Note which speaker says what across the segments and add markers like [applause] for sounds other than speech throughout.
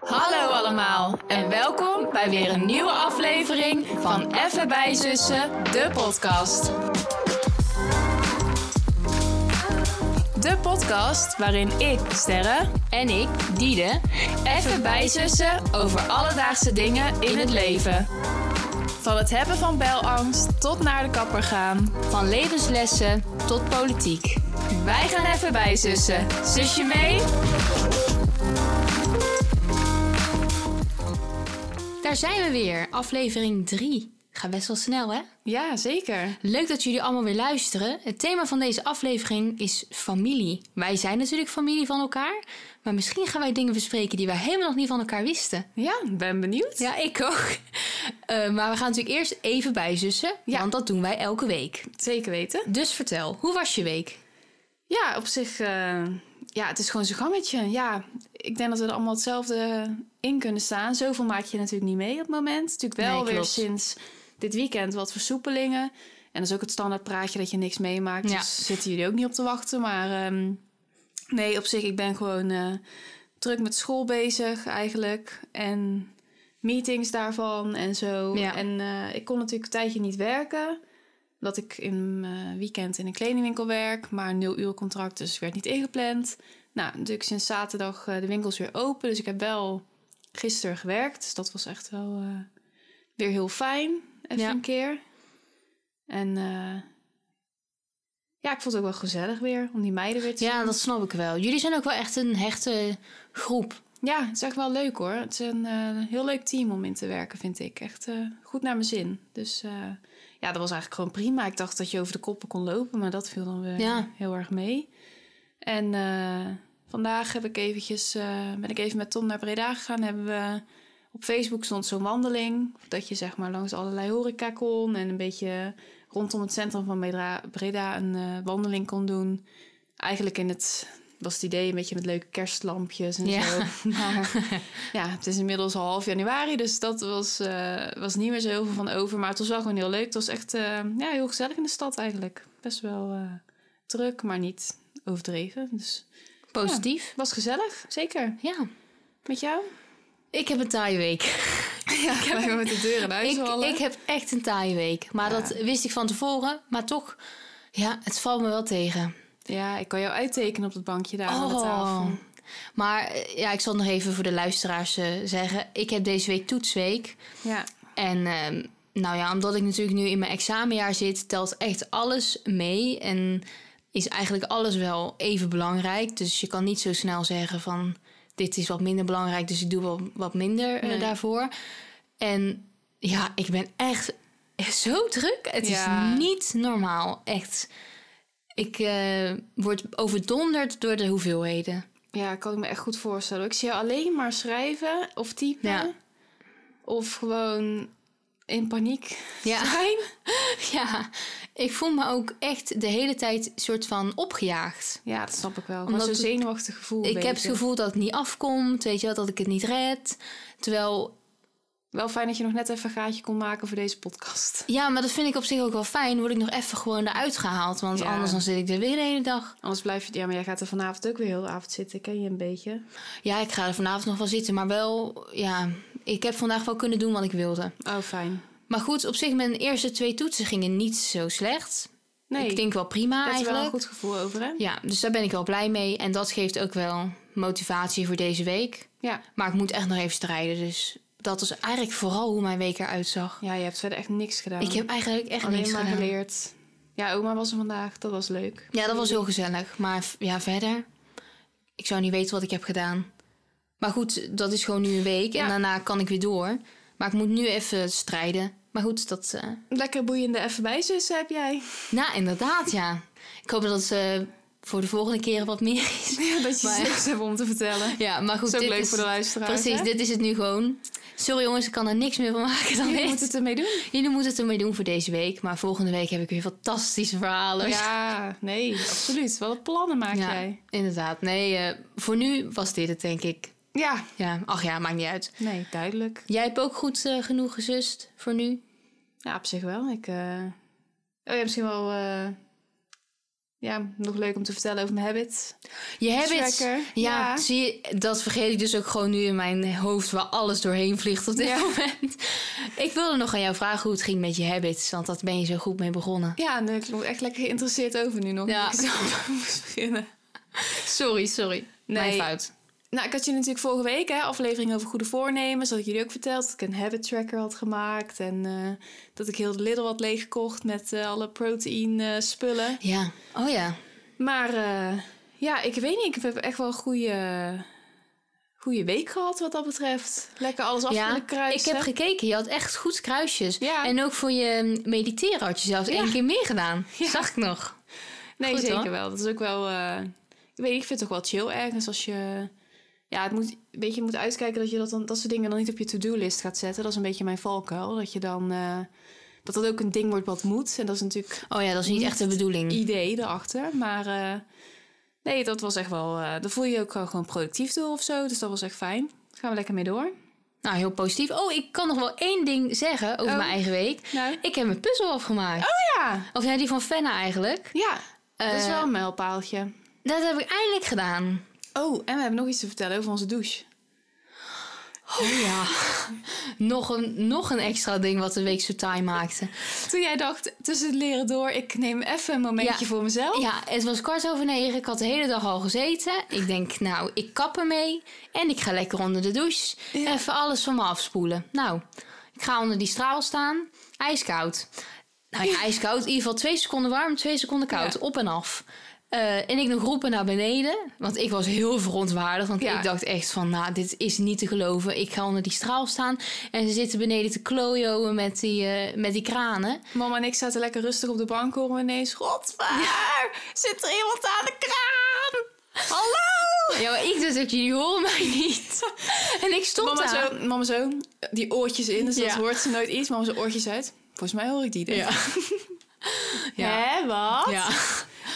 Speaker 1: Hallo allemaal en welkom bij weer een nieuwe aflevering van Even bij Zussen, de podcast. De podcast waarin ik, Sterre, en ik, Diede, even bijzussen over alledaagse dingen in het leven. Van het hebben van belangst tot naar de kapper gaan, van levenslessen tot politiek. Wij gaan even bijzussen. Zus je mee?
Speaker 2: Daar zijn we weer, aflevering 3. Gaat best wel snel, hè?
Speaker 1: Ja, zeker.
Speaker 2: Leuk dat jullie allemaal weer luisteren. Het thema van deze aflevering is familie. Wij zijn natuurlijk familie van elkaar, maar misschien gaan wij dingen bespreken die wij helemaal nog niet van elkaar wisten.
Speaker 1: Ja, ben benieuwd.
Speaker 2: Ja, ik ook. [laughs] Eh, maar we gaan natuurlijk eerst even bijzussen,
Speaker 1: Ja.
Speaker 2: want dat doen wij elke week.
Speaker 1: Zeker weten.
Speaker 2: Dus vertel, hoe was je week?
Speaker 1: Ja, op zich, eh, ja, het is gewoon zo'n gangetje. Ja, ik denk dat we er allemaal hetzelfde in kunnen staan. Zoveel maak je natuurlijk niet mee op het moment. Natuurlijk wel
Speaker 2: Nee,
Speaker 1: weer
Speaker 2: klopt.
Speaker 1: sinds dit weekend wat versoepelingen. En dat is ook het standaard praatje dat je niks meemaakt.
Speaker 2: Ja.
Speaker 1: Dus zitten jullie ook niet op te wachten. Maar ehm, nee, op zich, ik ben gewoon eh, druk met school bezig eigenlijk. En meetings daarvan en zo.
Speaker 2: Ja.
Speaker 1: En eh, ik kon natuurlijk een tijdje niet werken dat ik in eh, weekend in een kledingwinkel werk, maar een nul uur contract, dus ik werd niet ingepland. Nou, natuurlijk sinds zaterdag eh, de winkels weer open, dus ik heb wel gisteren gewerkt, dus dat was echt wel eh, weer heel fijn, even
Speaker 2: Ja.
Speaker 1: een keer. En eh, ja, ik vond het ook wel gezellig weer om die meiden weer te zien.
Speaker 2: Ja, dat snap ik wel. Jullie zijn ook wel echt een hechte groep.
Speaker 1: Ja, het is echt wel leuk hoor. Het is een eh, heel leuk team om in te werken, vind ik. Echt eh, goed naar mijn zin. Dus eh, ja, dat was eigenlijk gewoon prima. Ik dacht dat je over de koppen kon lopen, maar dat viel dan weer
Speaker 2: Ja.
Speaker 1: heel erg mee. En eh, vandaag heb ik eventjes, eh, ben ik even met Tom naar Breda gegaan. Hebben we, op Facebook stond zo'n wandeling. Dat je zeg maar langs allerlei horeca kon. En een beetje rondom het centrum van Breda, Breda een eh, wandeling kon doen. Eigenlijk in het, was het idee een beetje met leuke kerstlampjes en
Speaker 2: Ja.
Speaker 1: zo.
Speaker 2: [laughs]
Speaker 1: Maar ja, het is inmiddels al half januari. Dus dat was, eh, was niet meer zo heel veel van over. Maar het was wel gewoon heel leuk. Het was echt eh, ja, heel gezellig in de stad eigenlijk. Best wel eh, druk, maar niet overdreven. Dus
Speaker 2: Positief.
Speaker 1: het was gezellig, zeker.
Speaker 2: ja.
Speaker 1: Met
Speaker 2: [laughs]
Speaker 1: jou?
Speaker 2: Ik heb een taaie week.
Speaker 1: Ja, ik heb met de deur in huis
Speaker 2: Ik, ik heb echt een taaie week. Maar
Speaker 1: Ja.
Speaker 2: dat wist ik van tevoren. Maar toch, ja, het valt me wel tegen.
Speaker 1: Ja, ik kan jou uittekenen op het bankje daar aan de
Speaker 2: Oh.
Speaker 1: tafel.
Speaker 2: Maar eh, ja, ik zal nog even voor de luisteraars eh, zeggen. Ik heb deze week toetsweek.
Speaker 1: Ja,
Speaker 2: En ehm, nou ja, omdat ik natuurlijk nu in mijn examenjaar zit, telt echt alles mee. En is eigenlijk alles wel even belangrijk. Dus je kan niet zo snel zeggen van dit is wat minder belangrijk, dus ik doe wel wat minder eh,
Speaker 1: Nee.
Speaker 2: daarvoor. En ja, ik ben echt zo druk. Het
Speaker 1: Ja.
Speaker 2: is niet normaal. Echt. Ik eh, word overdonderd door de hoeveelheden. [laughs]
Speaker 1: ja, kan ik me echt goed voorstellen. Ik zie jou alleen maar schrijven of typen.
Speaker 2: Ja.
Speaker 1: Of gewoon in paniek
Speaker 2: Ja.
Speaker 1: zijn.
Speaker 2: Ja, ik voel me ook echt de hele tijd soort van
Speaker 1: [laughs]
Speaker 2: opgejaagd.
Speaker 1: Ja, dat snap ik wel. Maar
Speaker 2: Omdat
Speaker 1: zo'n
Speaker 2: het-
Speaker 1: zenuwachtig gevoel. een
Speaker 2: Ik heb het
Speaker 1: beetje.
Speaker 2: gevoel dat het niet afkomt, weet je wel, dat ik het niet red. Terwijl,
Speaker 1: Wel fijn dat je nog net even een gaatje kon maken voor deze podcast.
Speaker 2: ja, maar dat vind ik op zich ook wel fijn. Word ik nog even gewoon eruit gehaald, want
Speaker 1: Ja.
Speaker 2: anders dan zit ik er weer de hele dag.
Speaker 1: Anders blijf je... Ja, maar jij gaat er vanavond ook weer heel de avond zitten. Ik Ken je een beetje?
Speaker 2: Ja, ik ga er vanavond nog wel zitten, maar wel, ja, ik heb vandaag wel kunnen doen wat ik wilde.
Speaker 1: Oh, fijn.
Speaker 2: Maar goed, op zich, mijn eerste twee toetsen gingen niet zo slecht.
Speaker 1: Nee,
Speaker 2: Ik denk wel prima
Speaker 1: daar heb je wel
Speaker 2: eigenlijk.
Speaker 1: een goed gevoel over, hè?
Speaker 2: Ja, dus daar ben ik wel blij mee. En dat geeft ook wel motivatie voor deze week.
Speaker 1: Ja.
Speaker 2: Maar ik moet echt nog even strijden, dus dat is eigenlijk vooral hoe mijn week eruit zag.
Speaker 1: Ja, je hebt verder echt niks gedaan.
Speaker 2: Ik heb eigenlijk echt
Speaker 1: Alleen
Speaker 2: niks
Speaker 1: maar
Speaker 2: gedaan.
Speaker 1: geleerd. Ja, oma was er vandaag. Dat was leuk.
Speaker 2: Ja, dat was heel gezellig. Maar v- ja, verder. Ik zou niet weten wat ik heb gedaan. Maar goed, dat is gewoon nu een week.
Speaker 1: Ja.
Speaker 2: En daarna kan ik weer door. Maar ik moet nu even strijden. Maar goed, dat. eh,
Speaker 1: Lekker boeiende even bijzussen heb jij.
Speaker 2: Nou, inderdaad, ja. Ik hoop dat ze voor de volgende keer wat meer is.
Speaker 1: [laughs] [laughs] Ja, dat je
Speaker 2: Maar-
Speaker 1: slips hebt om te vertellen.
Speaker 2: Ja, maar goed.
Speaker 1: dat is ook
Speaker 2: dit
Speaker 1: leuk voor de luisteraar.
Speaker 2: Precies, dit is het nu gewoon. Sorry jongens, ik kan er niks meer van maken dan
Speaker 1: Je
Speaker 2: dit.
Speaker 1: moet het ermee doen.
Speaker 2: Jullie moeten het ermee doen voor deze week. Maar volgende week heb ik weer fantastische
Speaker 1: [laughs]
Speaker 2: verhalen.
Speaker 1: Ja, nee, absoluut. Wat plannen maak
Speaker 2: Ja,
Speaker 1: jij.
Speaker 2: inderdaad. Nee, eh, voor nu was dit het, denk ik.
Speaker 1: Ja,
Speaker 2: Ja, ach ja, maakt niet uit.
Speaker 1: nee, duidelijk.
Speaker 2: Jij hebt ook goed eh, genoeg gezust voor nu?
Speaker 1: Ja, op zich wel. Ik, eh, Oh ja, misschien wel eh, ja, nog leuk om te vertellen over mijn habits.
Speaker 2: Je habits.
Speaker 1: Tracker,
Speaker 2: Ja,
Speaker 1: ja.
Speaker 2: zie je, dat vergeet ik dus ook gewoon nu in mijn hoofd waar alles doorheen vliegt op dit
Speaker 1: Ja.
Speaker 2: moment. Ik wilde nog aan jou vragen hoe het ging met je habits, want dat ben je zo goed mee begonnen.
Speaker 1: Ja, en ik klonk echt lekker geïnteresseerd over nu nog.
Speaker 2: Ja.
Speaker 1: Ja. Ik [laughs] zo moest beginnen.
Speaker 2: Sorry, sorry. Mijn
Speaker 1: Nee.
Speaker 2: fout.
Speaker 1: Nou, ik had je natuurlijk vorige week, hè, aflevering over goede voornemens. Had ik jullie ook verteld dat ik een habit tracker had gemaakt. En eh, dat ik heel de Lidl had leeggekocht met eh, alle proteïne spullen.
Speaker 2: Ja. Oh ja.
Speaker 1: Maar eh, ja, ik weet niet. Ik heb echt wel een goede, goede week gehad wat dat betreft. Lekker alles af
Speaker 2: ja.
Speaker 1: kunnen kruisen.
Speaker 2: Ik heb gekeken, je had echt goed kruisjes.
Speaker 1: Ja.
Speaker 2: En ook voor je mm, mediteren had je zelfs
Speaker 1: Ja.
Speaker 2: één keer meer gedaan. Zag ik nog.
Speaker 1: Nee,
Speaker 2: Goed,
Speaker 1: zeker
Speaker 2: hoor.
Speaker 1: wel. Dat is ook wel. eh, ik weet niet, ik vind het toch wel chill ergens als je. Ja, het moet, weet je, je moet uitkijken dat je dat, dan, dat soort dingen dan niet op je to-do-list gaat zetten. Dat is een beetje mijn valkuil. Dat je dan. eh, dat dat ook een ding wordt wat moet. En dat is natuurlijk
Speaker 2: Oh ja, dat is niet echt de bedoeling.
Speaker 1: idee erachter. Maar. eh, nee, dat was echt wel. eh daar voel je je ook wel gewoon productief door of zo. Dus dat was echt fijn. Daar gaan we lekker mee door.
Speaker 2: Nou, heel positief. Oh, ik kan nog wel één ding zeggen over
Speaker 1: Oh.
Speaker 2: mijn eigen week.
Speaker 1: Nou.
Speaker 2: Ik heb mijn puzzel afgemaakt.
Speaker 1: Ja,
Speaker 2: Of ja, die van Fenna eigenlijk.
Speaker 1: ja. dat is
Speaker 2: Eh,
Speaker 1: wel een mijlpaaltje.
Speaker 2: Dat heb ik eindelijk gedaan.
Speaker 1: Oh, en we hebben nog iets te vertellen over onze douche.
Speaker 2: Oh ja. [laughs] nog, een, nog een extra ding wat de week zo taai maakte.
Speaker 1: Toen jij dacht, tussen het leren door, ik neem even een momentje
Speaker 2: Ja.
Speaker 1: voor mezelf.
Speaker 2: Ja, het was kwart over negen. Ik had de hele dag al gezeten. Ik denk, nou, ik kap ermee. En ik ga lekker onder de douche.
Speaker 1: Ja.
Speaker 2: Even alles van me afspoelen. Nou, ik ga onder die straal staan. IJskoud. Nou ja, ijskoud. In ieder geval twee seconden warm, twee seconden koud.
Speaker 1: Ja.
Speaker 2: Op en af. Eh, en ik nog roepen naar beneden. Want ik was heel verontwaardigd. Want
Speaker 1: Ja.
Speaker 2: ik dacht echt van, nou, dit is niet te geloven. Ik ga onder die straal staan. En ze zitten beneden te klojoen met die, eh, met die kranen.
Speaker 1: Mama en ik zaten lekker rustig op de bank, horen we ineens... Godver, zit er iemand aan de kraan? Hallo!
Speaker 2: Ja, maar ik dus ook, jullie horen mij niet. En ik stond
Speaker 1: Mama
Speaker 2: daar.
Speaker 1: zo, mama zo, die oortjes in, dus dat
Speaker 2: Ja.
Speaker 1: hoort ze nooit iets. Mama zo, oortjes uit. Volgens mij hoor ik die. Ja.
Speaker 2: Ja.
Speaker 1: Hè, wat?
Speaker 2: Ja.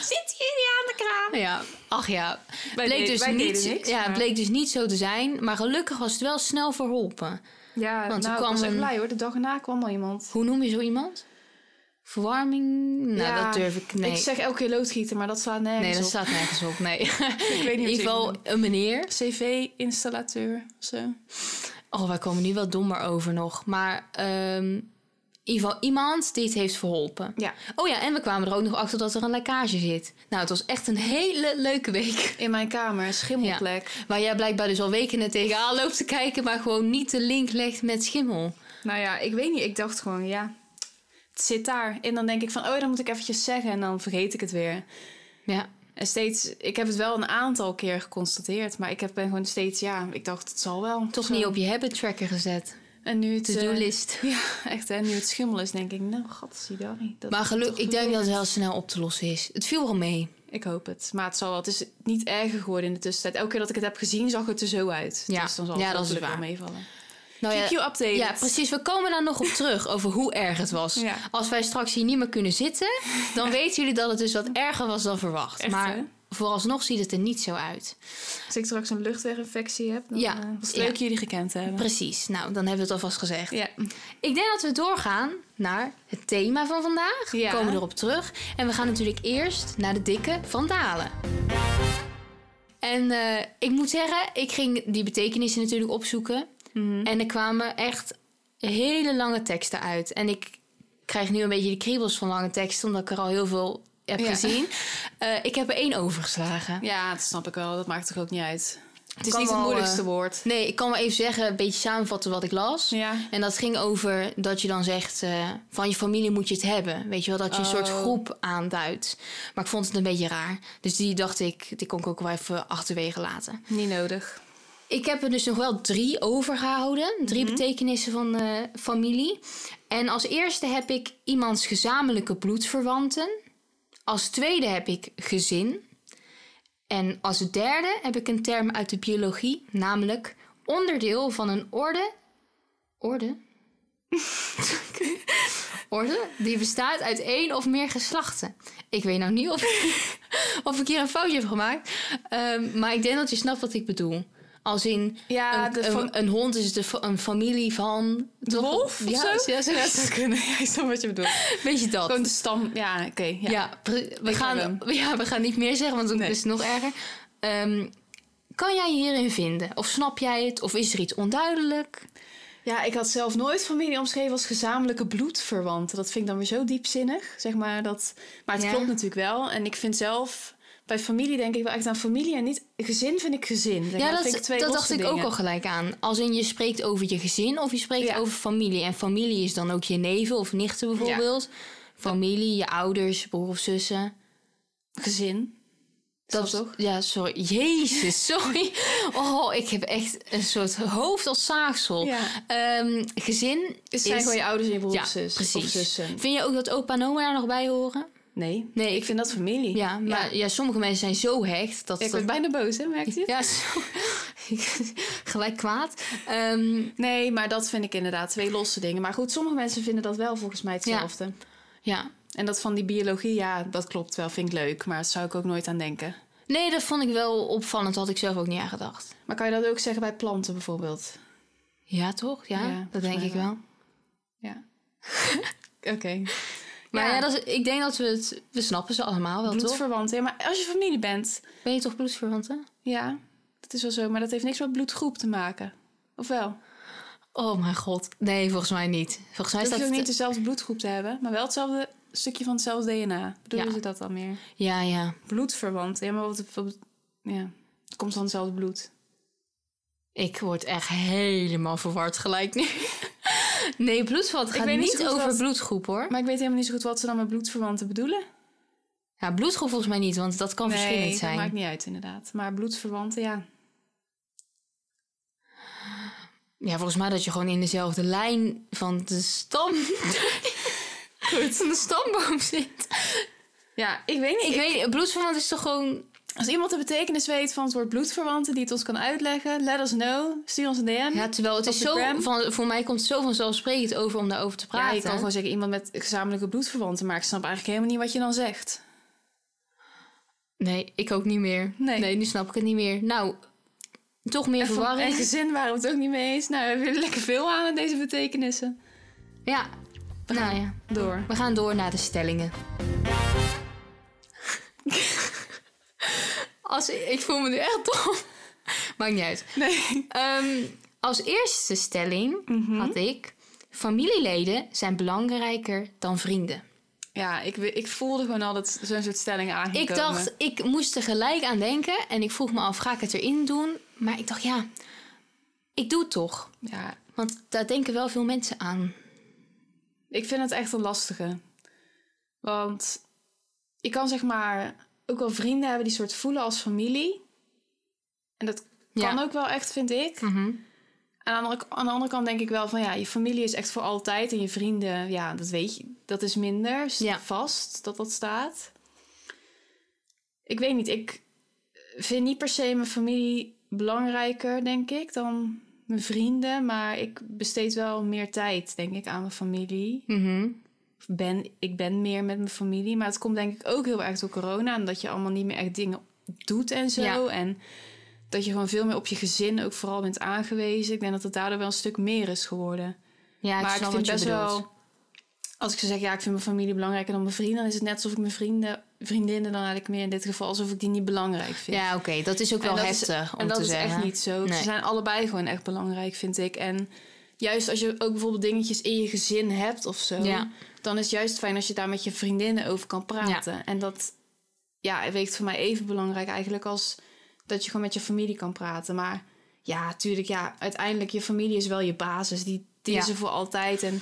Speaker 1: Zitten jullie aan de kraan?
Speaker 2: ja. Ach ja.
Speaker 1: Wij
Speaker 2: bleek
Speaker 1: deden-
Speaker 2: dus
Speaker 1: wij
Speaker 2: niet,
Speaker 1: deden niks,
Speaker 2: ja,
Speaker 1: maar-
Speaker 2: bleek dus niet zo te zijn. Maar gelukkig was het wel snel verholpen.
Speaker 1: Ja,
Speaker 2: Want er
Speaker 1: nou, ik
Speaker 2: kwam
Speaker 1: was echt
Speaker 2: een-
Speaker 1: blij hoor. De dag erna kwam al iemand.
Speaker 2: Hoe noem je zo iemand? Verwarming? Nou,
Speaker 1: Ja,
Speaker 2: dat durf ik niet.
Speaker 1: Ik zeg elke keer loodgieter, maar dat slaat nergens
Speaker 2: nee, dat
Speaker 1: op.
Speaker 2: staat nergens op. Nee. In
Speaker 1: [laughs] Ik weet niet
Speaker 2: ieder geval een meneer.
Speaker 1: CV-installateur of zo.
Speaker 2: Oh, wij komen nu wel dommer over nog. Maar ehm, in ieder geval iemand die het heeft verholpen.
Speaker 1: Ja.
Speaker 2: Oh ja, en we kwamen er ook nog achter dat er een lekkage zit. Nou, het was echt een hele leuke week.
Speaker 1: In mijn kamer, schimmelplek.
Speaker 2: Waar jij blijkbaar dus al weken er tegenaan loopt te kijken, maar gewoon niet de link legt met schimmel.
Speaker 1: Nou ja, ik weet niet. Ik dacht gewoon, ja, het zit daar. En dan denk ik van, oh, dat moet ik eventjes zeggen. En dan vergeet ik het weer.
Speaker 2: Ja.
Speaker 1: En steeds, ik heb het wel een aantal keer geconstateerd. Maar ik heb, ben gewoon steeds, ja, ik dacht, het zal wel.
Speaker 2: Toch
Speaker 1: Zo.
Speaker 2: niet op je habit tracker gezet.
Speaker 1: En nu het... eh,
Speaker 2: To-do-list.
Speaker 1: [laughs] ja, echt. En nu het schimmel is, denk ik, nou, gatsidari. dat
Speaker 2: Maar
Speaker 1: is
Speaker 2: gelukkig,
Speaker 1: toch
Speaker 2: ik denk dat
Speaker 1: gebeurd.
Speaker 2: het heel snel op te lossen is. Het viel wel mee.
Speaker 1: Ik hoop het. Maar het zal wel. Het is niet erger geworden in de tussentijd. Elke keer dat ik het heb gezien, zag het er zo uit.
Speaker 2: Ja.
Speaker 1: Dus dan zal
Speaker 2: Ja,
Speaker 1: het
Speaker 2: dat is
Speaker 1: hopelijk wel
Speaker 2: waar.
Speaker 1: meevallen.
Speaker 2: Nou ja,
Speaker 1: GQ updated.
Speaker 2: ja, precies. We komen daar nog op terug over hoe erg het was.
Speaker 1: Ja.
Speaker 2: Als wij straks hier niet meer kunnen zitten, dan weten jullie dat het dus wat erger was dan verwacht.
Speaker 1: Echt,
Speaker 2: maar
Speaker 1: hè?
Speaker 2: vooralsnog ziet het er niet zo uit.
Speaker 1: Als ik straks een luchtweginfectie heb, dan
Speaker 2: Ja.
Speaker 1: eh, was het
Speaker 2: Ja.
Speaker 1: leuk jullie gekend te hebben.
Speaker 2: Precies. Nou, dan hebben we het alvast gezegd.
Speaker 1: Ja.
Speaker 2: Ik denk dat we doorgaan naar het thema van vandaag.
Speaker 1: Ja.
Speaker 2: We komen erop terug. En we gaan natuurlijk eerst naar de dikke vandalen. En eh, ik moet zeggen, ik ging die betekenissen natuurlijk opzoeken.
Speaker 1: Mhm. Hm.
Speaker 2: En er kwamen echt hele lange teksten uit. En ik krijg nu een beetje de kriebels van lange teksten, omdat ik er al heel veel heb
Speaker 1: Ja.
Speaker 2: gezien. Eh, ik heb er één overgeslagen.
Speaker 1: Ja, dat snap ik wel. Dat maakt toch ook niet uit. Het is
Speaker 2: Kan
Speaker 1: niet het
Speaker 2: wel,
Speaker 1: moeilijkste
Speaker 2: eh,
Speaker 1: woord.
Speaker 2: Nee, ik kan wel even zeggen, een beetje samenvatten wat ik las.
Speaker 1: Ja.
Speaker 2: En dat ging over dat je dan zegt, eh, van je familie moet je het hebben. Weet je wel, dat je een soort
Speaker 1: Oh.
Speaker 2: groep aanduidt. Maar ik vond het een beetje raar. Dus die dacht ik, die kon ik ook wel even achterwege laten.
Speaker 1: Niet nodig.
Speaker 2: Ik heb er dus nog wel drie overgehouden. Drie betekenissen van eh, familie. En als eerste heb ik iemands gezamenlijke bloedverwanten. Als tweede heb ik gezin. En als derde heb ik een term uit de biologie, namelijk onderdeel van een orde. Orde? [laughs] orde die bestaat uit één of meer geslachten. Ik weet nou [laughs] niet of, of ik hier een foutje heb gemaakt, ehm, maar ik denk dat je snapt wat ik bedoel. Als in,
Speaker 1: Ja,
Speaker 2: een,
Speaker 1: de
Speaker 2: een,
Speaker 1: fam-
Speaker 2: een hond is de fa- een familie van...
Speaker 1: De wolf of
Speaker 2: ja,
Speaker 1: zo? [laughs]
Speaker 2: Ja, zo
Speaker 1: Ja, dat zou kunnen. Ja, ik snap wat je bedoelt.
Speaker 2: Weet je dat?
Speaker 1: [laughs] Gewoon de stam. Ja, oké. ja.
Speaker 2: Ja, pre- we,
Speaker 1: Ik
Speaker 2: gaan,
Speaker 1: heb
Speaker 2: [laughs] ja, we gaan niet meer zeggen, want dan
Speaker 1: Nee.
Speaker 2: is het nog erger. Ehm, kan jij je hierin vinden? Of snap jij het? Of is er iets onduidelijk?
Speaker 1: Ja, ik had zelf nooit familie omschreven als gezamenlijke bloedverwanten. Dat vind ik dan weer zo diepzinnig, zeg maar. Dat... Maar het
Speaker 2: Ja.
Speaker 1: klopt natuurlijk wel. En ik vind zelf, bij familie denk ik wel echt aan familie en niet... Gezin vind ik gezin. Zeg maar.
Speaker 2: ja, dat,
Speaker 1: vind ik twee
Speaker 2: dat dacht
Speaker 1: losse
Speaker 2: ik ook
Speaker 1: dingen.
Speaker 2: al gelijk aan. Als in je spreekt over je gezin of je spreekt
Speaker 1: Ja.
Speaker 2: over familie. En familie is dan ook je neven of nichten bijvoorbeeld. Familie, je ouders, broer of zussen.
Speaker 1: Gezin.
Speaker 2: Dat
Speaker 1: toch?
Speaker 2: Ja, sorry. [laughs] Jezus, sorry. Oh, ik heb echt een soort hoofd als zaagsel.
Speaker 1: Ja.
Speaker 2: Ehm, gezin
Speaker 1: Het zijn gewoon je ouders en je broers
Speaker 2: ja,
Speaker 1: of zus-
Speaker 2: precies.
Speaker 1: of zussen.
Speaker 2: Vind je ook dat opa en oma er nog bij horen?
Speaker 1: Nee,
Speaker 2: Nee,
Speaker 1: ik vind dat familie.
Speaker 2: Ja, maar ja. sommige mensen zijn zo hecht dat
Speaker 1: Ja, ik
Speaker 2: dat...
Speaker 1: word bijna boos, hè, merkt je?
Speaker 2: Ja, zo... [laughs] gelijk kwaad. Ehm,
Speaker 1: Nee, maar dat vind ik inderdaad twee losse dingen. Maar goed, sommige mensen vinden dat wel volgens mij hetzelfde.
Speaker 2: ja.
Speaker 1: En dat van die biologie, ja, dat klopt wel, vind ik leuk. Maar daar zou ik ook nooit aan denken.
Speaker 2: Nee, dat vond ik wel opvallend. Had ik zelf ook niet aan gedacht.
Speaker 1: Maar kan je dat ook zeggen bij planten bijvoorbeeld?
Speaker 2: Ja, toch? Ja,
Speaker 1: Ja, volgens
Speaker 2: dat denk
Speaker 1: mij
Speaker 2: ik wel.
Speaker 1: Ja. Oké.
Speaker 2: Maar ja,
Speaker 1: Ja.
Speaker 2: dat is- ik denk dat we het... We snappen ze allemaal wel, toch?
Speaker 1: Bloedverwant. Ja, maar als je familie bent,
Speaker 2: Ben je toch bloedverwanten?
Speaker 1: ja, dat is wel zo. Maar dat heeft niks met bloedgroep te maken. Of wel?
Speaker 2: Oh mijn god. Nee, volgens mij niet. Volgens mij
Speaker 1: Je hoeft
Speaker 2: staat
Speaker 1: ook
Speaker 2: het-
Speaker 1: niet dezelfde bloedgroep te hebben, maar wel hetzelfde stukje van hetzelfde DNA. Bedoelen
Speaker 2: Ja.
Speaker 1: ze dat dan meer?
Speaker 2: Ja, ja.
Speaker 1: Bloedverwant. Ja, maar wat, wat- ja. Het komt van hetzelfde bloed.
Speaker 2: Ik word echt helemaal verward gelijk nu. [laughs] nee, bloedverwant
Speaker 1: Ik
Speaker 2: gaat
Speaker 1: weet niet
Speaker 2: niet,
Speaker 1: zo goed
Speaker 2: over
Speaker 1: wat-
Speaker 2: bloedgroep, hoor.
Speaker 1: Maar ik weet helemaal niet zo goed wat ze dan met bloedverwanten bedoelen.
Speaker 2: Ja, bloedgroep volgens mij niet, want dat kan verschillend
Speaker 1: dat
Speaker 2: zijn.
Speaker 1: maakt niet uit inderdaad. Maar bloedverwanten, ja.
Speaker 2: Ja, volgens mij dat je gewoon in dezelfde lijn van de stam.
Speaker 1: [laughs]
Speaker 2: Van de stamboom zit.
Speaker 1: Ja, ik weet niet.
Speaker 2: Ik weet, bloedverwant is toch gewoon.
Speaker 1: Als iemand de betekenis weet van het woord bloedverwanten, die het ons kan uitleggen, let us know. Stuur ons een DM.
Speaker 2: Ja, terwijl het
Speaker 1: Op
Speaker 2: is
Speaker 1: de
Speaker 2: zo.
Speaker 1: gram?
Speaker 2: Van, voor mij komt het zo vanzelfsprekend over om daarover te praten.
Speaker 1: Ja, je kan gewoon zeggen iemand met gezamenlijke bloedverwanten, maar ik snap eigenlijk helemaal niet wat je dan zegt.
Speaker 2: Nee, ik ook niet meer.
Speaker 1: Nee.
Speaker 2: nu snap ik het niet meer. Nou, toch meer
Speaker 1: En van- en
Speaker 2: verwarring.
Speaker 1: gezin waren we het ook niet mee eens. Nou, we hebben er lekker veel aan aan deze betekenissen.
Speaker 2: Ja, nou ja.
Speaker 1: Door.
Speaker 2: We gaan door naar de
Speaker 1: [laughs]
Speaker 2: stellingen. Als, ik voel me nu echt dom. Maakt niet uit.
Speaker 1: Nee.
Speaker 2: Ehm, als eerste stelling
Speaker 1: Mhm.
Speaker 2: had ik... Familieleden zijn belangrijker dan vrienden.
Speaker 1: Ja, ik, we- ik voelde gewoon al dat zo'n soort stelling aangekomen.
Speaker 2: Ik dacht, ik moest er gelijk aan denken. En ik vroeg me af, ga ik het erin doen? Maar ik dacht, ja, ik doe het toch.
Speaker 1: Ja,
Speaker 2: Want daar denken wel veel mensen aan.
Speaker 1: ik vind het echt een lastige. Want je kan zeg maar ook wel vrienden hebben die soort voelen als familie. En dat
Speaker 2: Ja.
Speaker 1: kan ook wel echt, vind ik. En aan de, andere- aan de andere kant denk ik wel van ja, je familie is echt voor altijd en je vrienden, ja, dat weet je, dat is minder s-
Speaker 2: Ja.
Speaker 1: vast dat dat staat. Ik weet niet, ik vind niet per se mijn familie belangrijker, denk ik, dan mijn vrienden, maar ik besteed wel meer tijd, denk ik, aan mijn familie.
Speaker 2: Mhm.
Speaker 1: Of Ben, ik ben meer met mijn familie, maar het komt denk ik ook heel erg door corona en dat je allemaal niet meer echt dingen doet en zo.
Speaker 2: Ja.
Speaker 1: En dat je gewoon veel meer op je gezin ook vooral bent aangewezen. Ik denk dat het daardoor wel een stuk meer is geworden.
Speaker 2: Ja, ik
Speaker 1: maar ik
Speaker 2: snap
Speaker 1: vind
Speaker 2: wat
Speaker 1: best
Speaker 2: je bedoelt.
Speaker 1: wel... Als ik zou zeggen, ja, ik vind mijn familie belangrijker dan mijn vrienden... dan is het net alsof ik mijn vrienden, vriendinnen dan eigenlijk meer in dit geval... alsof ik die niet belangrijk vind.
Speaker 2: Ja, oké, dat is ook wel
Speaker 1: En dat is-
Speaker 2: heftig om
Speaker 1: en dat
Speaker 2: te
Speaker 1: is
Speaker 2: zeggen.
Speaker 1: echt niet zo.
Speaker 2: Nee.
Speaker 1: Ze zijn allebei gewoon echt belangrijk, vind ik. En juist als je ook bijvoorbeeld dingetjes in je gezin hebt of zo...
Speaker 2: Ja.
Speaker 1: dan is het juist fijn als je daar met je vriendinnen over kan praten. En dat ja, weegt voor mij even belangrijk eigenlijk als dat je gewoon met je familie kan praten. Maar ja, tuurlijk, ja, uiteindelijk je familie is wel je basis. Die, die
Speaker 2: Ja.
Speaker 1: is er voor altijd en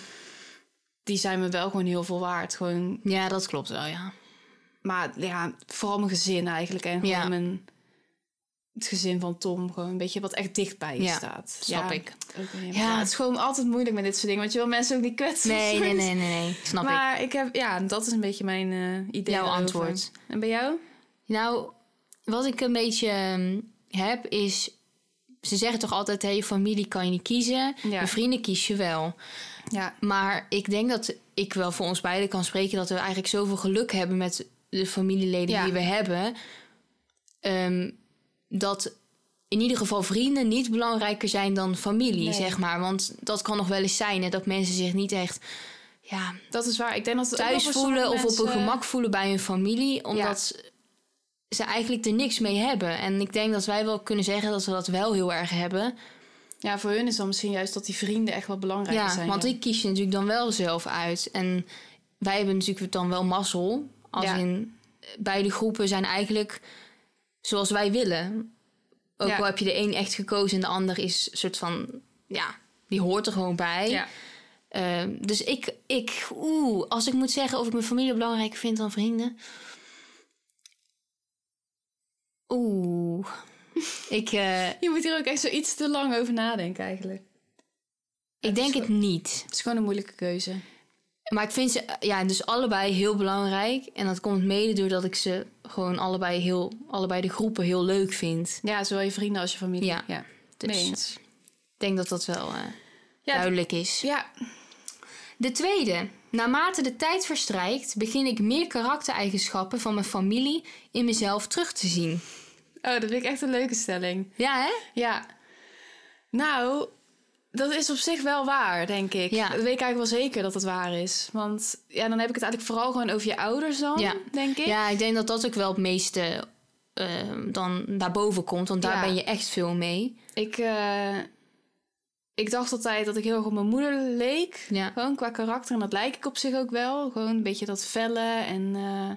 Speaker 1: die zijn me wel gewoon heel veel waard. Gewoon
Speaker 2: Ja, dat klopt wel, ja.
Speaker 1: maar ja, vooral mijn gezin eigenlijk. En gewoon
Speaker 2: Ja.
Speaker 1: mijn, het gezin van Tom. Gewoon een beetje wat echt dicht bij je
Speaker 2: Ja,
Speaker 1: staat.
Speaker 2: snap ik.
Speaker 1: ook weer helemaal-
Speaker 2: Ja.
Speaker 1: Ja. het is gewoon altijd moeilijk met dit soort dingen. Want je wil mensen ook niet kwetsen.
Speaker 2: Nee,
Speaker 1: soms.
Speaker 2: nee, nee, nee,
Speaker 1: [laughs]
Speaker 2: nee. Snap ik.
Speaker 1: Maar ik heb, ja, dat is een beetje mijn eh, idee.
Speaker 2: Jouw
Speaker 1: daarover.
Speaker 2: antwoord.
Speaker 1: En bij jou?
Speaker 2: Nou, wat ik een beetje ehm, heb is... Ze zeggen toch altijd, hé, je familie kan je niet kiezen.
Speaker 1: Ja.
Speaker 2: Je vrienden kies je wel.
Speaker 1: Ja,
Speaker 2: Maar ik denk dat ik wel voor ons beiden kan spreken... dat we eigenlijk zoveel geluk hebben met de familieleden
Speaker 1: Ja.
Speaker 2: die we hebben. Ehm, dat in ieder geval vrienden niet belangrijker zijn dan familie,
Speaker 1: Nee.
Speaker 2: zeg maar. Want dat kan nog wel eens zijn, hè, dat mensen zich niet echt ja,
Speaker 1: Dat is waar. Ik denk dat het ook
Speaker 2: thuis
Speaker 1: wel voor
Speaker 2: voelen of
Speaker 1: sommige
Speaker 2: op hun
Speaker 1: mensen-
Speaker 2: gemak voelen bij hun familie, omdat ze eigenlijk er niks mee hebben. En ik denk dat wij wel kunnen zeggen dat we dat wel heel erg hebben.
Speaker 1: Ja, voor hun is dan misschien juist dat die vrienden echt wel belangrijk
Speaker 2: ja,
Speaker 1: zijn.
Speaker 2: want ik kies je natuurlijk dan wel zelf uit. En wij hebben natuurlijk dan wel mazzel. Als
Speaker 1: Ja.
Speaker 2: in eh, beide groepen zijn eigenlijk zoals wij willen. Ook
Speaker 1: Ja.
Speaker 2: al heb je de een echt gekozen en de ander is soort van, ja, die hoort er gewoon bij.
Speaker 1: Ja.
Speaker 2: Eh, dus ik, ik, oeh, als ik moet zeggen of ik mijn familie belangrijker vind dan vrienden. Oeh. ik, eh,
Speaker 1: Je moet hier ook echt zoiets te lang over nadenken eigenlijk.
Speaker 2: ik denk het niet.
Speaker 1: Het is gewoon een moeilijke keuze.
Speaker 2: Maar ik vind ze eh, ja, dus allebei heel belangrijk. En dat komt mede doordat ik ze gewoon allebei, heel, allebei de groepen heel leuk vind.
Speaker 1: Ja, zowel je vrienden als je familie.
Speaker 2: Ja.
Speaker 1: ja.
Speaker 2: Dus
Speaker 1: Mee
Speaker 2: ik
Speaker 1: eens.
Speaker 2: denk dat dat wel eh,
Speaker 1: Ja, d-
Speaker 2: duidelijk is.
Speaker 1: ja,
Speaker 2: De tweede. Naarmate de tijd verstrijkt, begin ik meer karaktereigenschappen van mijn familie in mezelf terug te zien.
Speaker 1: oh, dat vind ik echt een leuke stelling.
Speaker 2: Ja, hè?
Speaker 1: Ja. Nou, dat is op zich wel waar, denk ik.
Speaker 2: Ja.
Speaker 1: Dat weet ik eigenlijk wel zeker dat het waar is. Want ja, dan heb ik het eigenlijk vooral gewoon over je ouders dan,
Speaker 2: Ja.
Speaker 1: denk ik.
Speaker 2: Ja, ik denk dat dat ook wel het meeste eh, dan daarboven komt. Want daar
Speaker 1: Ja.
Speaker 2: ben je echt veel mee.
Speaker 1: Ik, eh, ik dacht altijd dat ik heel erg op mijn moeder leek.
Speaker 2: Ja.
Speaker 1: Gewoon qua karakter. En dat lijk ik op zich ook wel. Gewoon een beetje dat felle. En eh,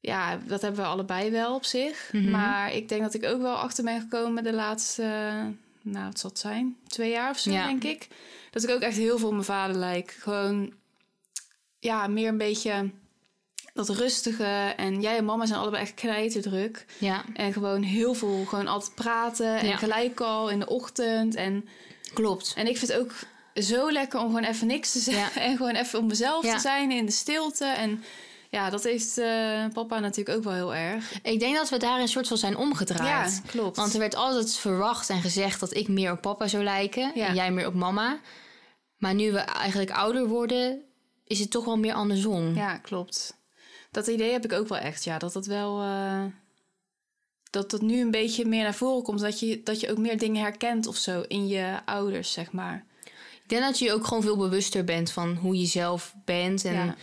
Speaker 1: ja, dat hebben we allebei wel op zich.
Speaker 2: Mhm.
Speaker 1: Maar ik denk dat ik ook wel achter ben gekomen de laatste... eh, nou, het zal het zijn. Twee jaar of zo,
Speaker 2: Ja.
Speaker 1: denk ik. Dat ik ook echt heel veel op mijn vader lijk. Gewoon, ja, meer een beetje dat rustige. En jij en mama zijn allebei echt knijterdruk.
Speaker 2: Ja,
Speaker 1: En gewoon heel veel, gewoon altijd praten. En
Speaker 2: Ja.
Speaker 1: gelijk al in de ochtend. En,
Speaker 2: klopt.
Speaker 1: en ik vind het ook zo lekker om gewoon even niks te zeggen. [laughs] En gewoon even om mezelf
Speaker 2: Ja.
Speaker 1: te zijn in de stilte. En ja, dat heeft eh, papa natuurlijk ook wel heel erg.
Speaker 2: Ik denk dat we daar een soort van zijn omgedraaid.
Speaker 1: Ja, klopt.
Speaker 2: Want er werd altijd verwacht en gezegd dat ik meer op papa zou lijken
Speaker 1: Ja.
Speaker 2: en jij meer op mama. Maar nu we eigenlijk ouder worden, is het toch wel meer andersom.
Speaker 1: Ja, klopt. Dat idee heb ik ook wel echt. Ja, dat dat wel... eh, dat dat nu een beetje meer naar voren komt. Dat je, dat je ook meer dingen herkent of zo in je ouders, zeg maar.
Speaker 2: Ik denk dat je je ook gewoon veel bewuster bent van hoe je zelf bent. En
Speaker 1: Ja.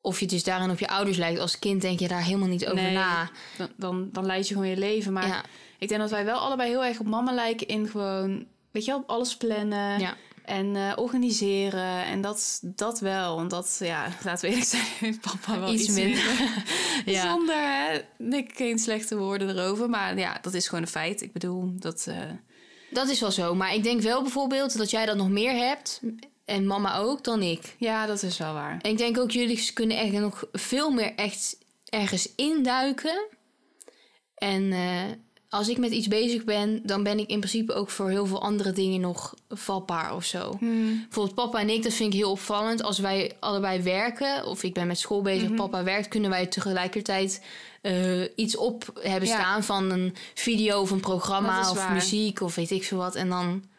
Speaker 2: of je dus daarin op je ouders lijkt. Als kind denk je daar helemaal niet over
Speaker 1: Nee.
Speaker 2: na.
Speaker 1: Dan, dan, dan leid je gewoon je leven. Maar
Speaker 2: Ja,
Speaker 1: Ik denk dat wij wel allebei heel erg op mama lijken in gewoon, weet je wel, alles plannen
Speaker 2: ja.
Speaker 1: en eh, organiseren. En dat, dat wel, want dat, ja, [laughs] laten we eerlijk zijn, heeft papa wel
Speaker 2: Iets
Speaker 1: iets,
Speaker 2: minder.
Speaker 1: minder. [laughs]
Speaker 2: Ja.
Speaker 1: Zonder, hè, ik geen slechte woorden erover, maar ja, dat is gewoon een feit. Ik bedoel, dat, eh,
Speaker 2: Dat is wel zo. Maar ik denk wel bijvoorbeeld dat jij dat nog meer hebt. En mama ook dan ik.
Speaker 1: ja, dat is wel waar.
Speaker 2: En ik denk ook jullie kunnen echt nog veel meer echt ergens induiken. En eh, als ik met iets bezig ben, dan ben ik in principe ook voor heel veel andere dingen nog vatbaar of zo.
Speaker 1: Hm.
Speaker 2: Bijvoorbeeld papa en ik, dat vind ik heel opvallend. Als wij allebei werken, of ik ben met school bezig,
Speaker 1: Mhm.
Speaker 2: papa werkt, kunnen wij tegelijkertijd eh, iets op hebben
Speaker 1: Ja.
Speaker 2: staan van een video of een programma
Speaker 1: Dat is
Speaker 2: of
Speaker 1: waar.
Speaker 2: muziek of weet ik veel wat. En dan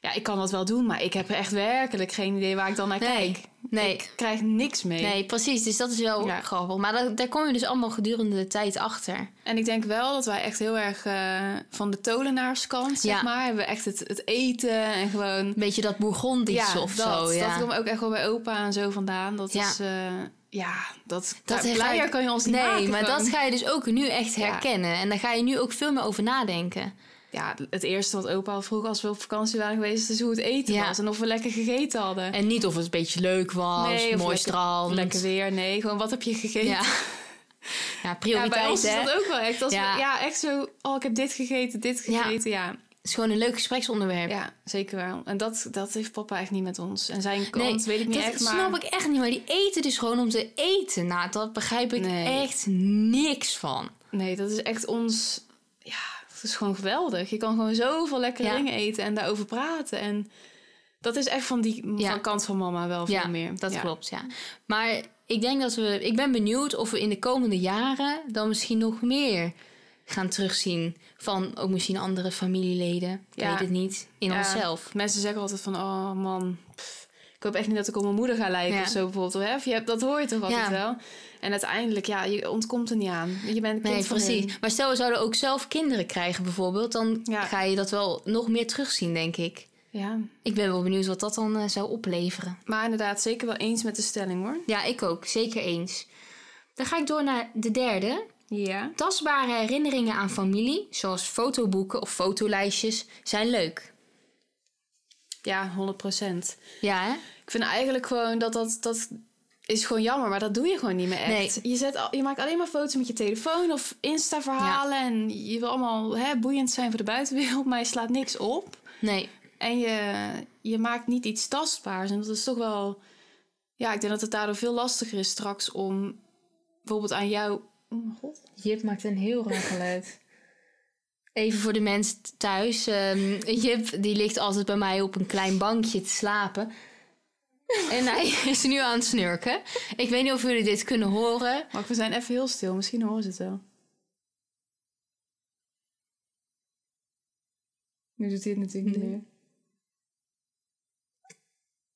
Speaker 1: Ja, ik kan dat wel doen, maar ik heb echt werkelijk geen idee waar ik dan naar
Speaker 2: Nee.
Speaker 1: kijk.
Speaker 2: Nee.
Speaker 1: Ik krijg niks mee.
Speaker 2: Nee, precies. Dus dat is wel
Speaker 1: Ja.
Speaker 2: grappig. Maar dat, daar kom je dus allemaal gedurende de tijd achter.
Speaker 1: En ik denk wel dat wij echt heel erg eh, van de tolenaarskant, zeg
Speaker 2: Ja.
Speaker 1: maar, hebben we echt het, het eten en gewoon
Speaker 2: Een beetje dat Bourgondische of
Speaker 1: dat,
Speaker 2: zo. Ja.
Speaker 1: dat komt ook echt wel bij opa en zo vandaan. Dat
Speaker 2: Ja.
Speaker 1: is, eh, ja, dat,
Speaker 2: Dat
Speaker 1: dat
Speaker 2: herken-
Speaker 1: blijer kan je ons niet
Speaker 2: nee,
Speaker 1: maken.
Speaker 2: maar
Speaker 1: gewoon.
Speaker 2: dat ga je dus ook nu echt
Speaker 1: Ja.
Speaker 2: herkennen. En daar ga je nu ook veel meer over nadenken.
Speaker 1: Ja, het eerste wat opa al vroeg als we op vakantie waren geweest... is hoe het eten
Speaker 2: Ja.
Speaker 1: was en of we lekker gegeten hadden.
Speaker 2: En niet of het een beetje leuk was,
Speaker 1: Nee, of
Speaker 2: mooi
Speaker 1: lekker-
Speaker 2: strand.
Speaker 1: Lekker weer, nee, gewoon wat heb je gegeten?
Speaker 2: [laughs] Ja. ja,
Speaker 1: Ja, bij ons
Speaker 2: prioriteit,
Speaker 1: is
Speaker 2: hè.
Speaker 1: dat ook wel echt. Als we-
Speaker 2: Ja.
Speaker 1: ja. echt zo, oh, ik heb dit gegeten, dit
Speaker 2: Ja.
Speaker 1: gegeten, ja.
Speaker 2: Het is gewoon een leuk gespreksonderwerp.
Speaker 1: Ja, zeker wel. En dat, dat heeft papa echt niet met ons. En zijn kant weet ik niet
Speaker 2: dat
Speaker 1: echt, maar...
Speaker 2: snap ik echt niet. Maar die eten dus gewoon om te eten. Nou, dat begrijp ik
Speaker 1: Nee.
Speaker 2: echt niks van.
Speaker 1: Nee, dat is echt ons. Ja, het is gewoon geweldig. Je kan gewoon zoveel lekkere
Speaker 2: Ja.
Speaker 1: dingen eten en daarover praten. En dat is echt van die
Speaker 2: Ja.
Speaker 1: van kant van mama wel veel
Speaker 2: ja,
Speaker 1: meer.
Speaker 2: Dat
Speaker 1: Ja.
Speaker 2: klopt, ja. Maar ik denk dat we. Ik ben benieuwd of we in de komende jaren dan misschien nog meer gaan terugzien van ook misschien andere familieleden. Ik
Speaker 1: Ja.
Speaker 2: weet het niet. In
Speaker 1: Ja.
Speaker 2: onszelf.
Speaker 1: Mensen zeggen altijd van, oh man, pff, ik hoop echt niet dat ik op mijn moeder ga lijken
Speaker 2: Ja.
Speaker 1: of zo bijvoorbeeld. Of, hè? Of je hebt, dat hoor je toch altijd
Speaker 2: Ja.
Speaker 1: wel. En uiteindelijk, ja, je ontkomt er niet aan. Je bent een kind
Speaker 2: Nee,
Speaker 1: van hen.
Speaker 2: precies. Maar stel, we zouden ook zelf kinderen krijgen bijvoorbeeld. Dan
Speaker 1: Ja.
Speaker 2: ga je dat wel nog meer terugzien, denk ik.
Speaker 1: Ja,
Speaker 2: Ik ben wel benieuwd wat dat dan eh, zou opleveren.
Speaker 1: maar inderdaad, zeker wel eens met de stelling hoor.
Speaker 2: Ja, ik ook. Zeker eens. Dan ga ik door naar de derde.
Speaker 1: Ja.
Speaker 2: Tastbare herinneringen aan familie, zoals fotoboeken of fotolijstjes, zijn leuk.
Speaker 1: Ja, 100
Speaker 2: Ja, hè?
Speaker 1: Ik vind eigenlijk gewoon dat dat, dat is gewoon jammer, maar dat doe je gewoon niet meer echt. Je, zet al, je maakt alleen maar foto's met je telefoon of Insta-verhalen. En je wil allemaal hè, boeiend zijn voor de buitenwereld, maar je slaat niks op.
Speaker 2: Nee.
Speaker 1: En je, je maakt niet iets tastbaars. En dat is toch wel. Ja, ik denk dat het daardoor veel lastiger is straks om bijvoorbeeld aan jou. Oh mijn god.
Speaker 2: Jip maakt een heel raar geluid. Even voor de mensen thuis. ehm, Jip die ligt altijd bij mij op een klein bankje te slapen. En hij [laughs] is nu aan het snurken. Ik weet niet of jullie dit kunnen horen.
Speaker 1: Maar we zijn even heel stil, misschien horen ze het wel. Nu doet hij het natuurlijk niet meer.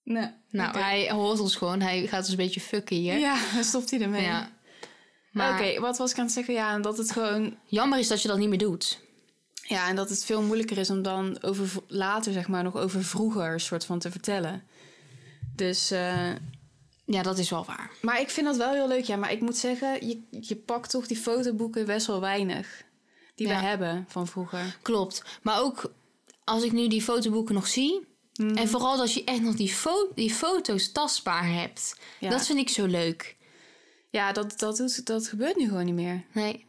Speaker 1: Nee.
Speaker 2: Nou,
Speaker 1: Oké.
Speaker 2: hij hoort ons gewoon. Hij gaat ons een beetje fucken hier.
Speaker 1: Ja, dan stopt hij ermee.
Speaker 2: Ja.
Speaker 1: Maar
Speaker 2: Maar
Speaker 1: Oké, wat was ik aan het zeggen? Ja, en dat het gewoon...
Speaker 2: jammer is dat je dat niet meer doet.
Speaker 1: Ja, en dat het veel moeilijker is om dan over v- later, zeg maar, nog over vroeger soort van te vertellen. Dus... eh,
Speaker 2: Ja, dat is wel waar.
Speaker 1: maar ik vind dat wel heel leuk, ja. Maar ik moet zeggen, je, je pakt toch die fotoboeken best wel weinig. Die
Speaker 2: Ja.
Speaker 1: we hebben van vroeger.
Speaker 2: Klopt. Maar ook als ik nu die fotoboeken nog zie. En vooral dat je echt nog die, fo- die foto's tastbaar hebt.
Speaker 1: Ja.
Speaker 2: Dat vind ik zo leuk.
Speaker 1: Ja, dat, dat, doet, dat gebeurt nu gewoon niet meer.
Speaker 2: Nee.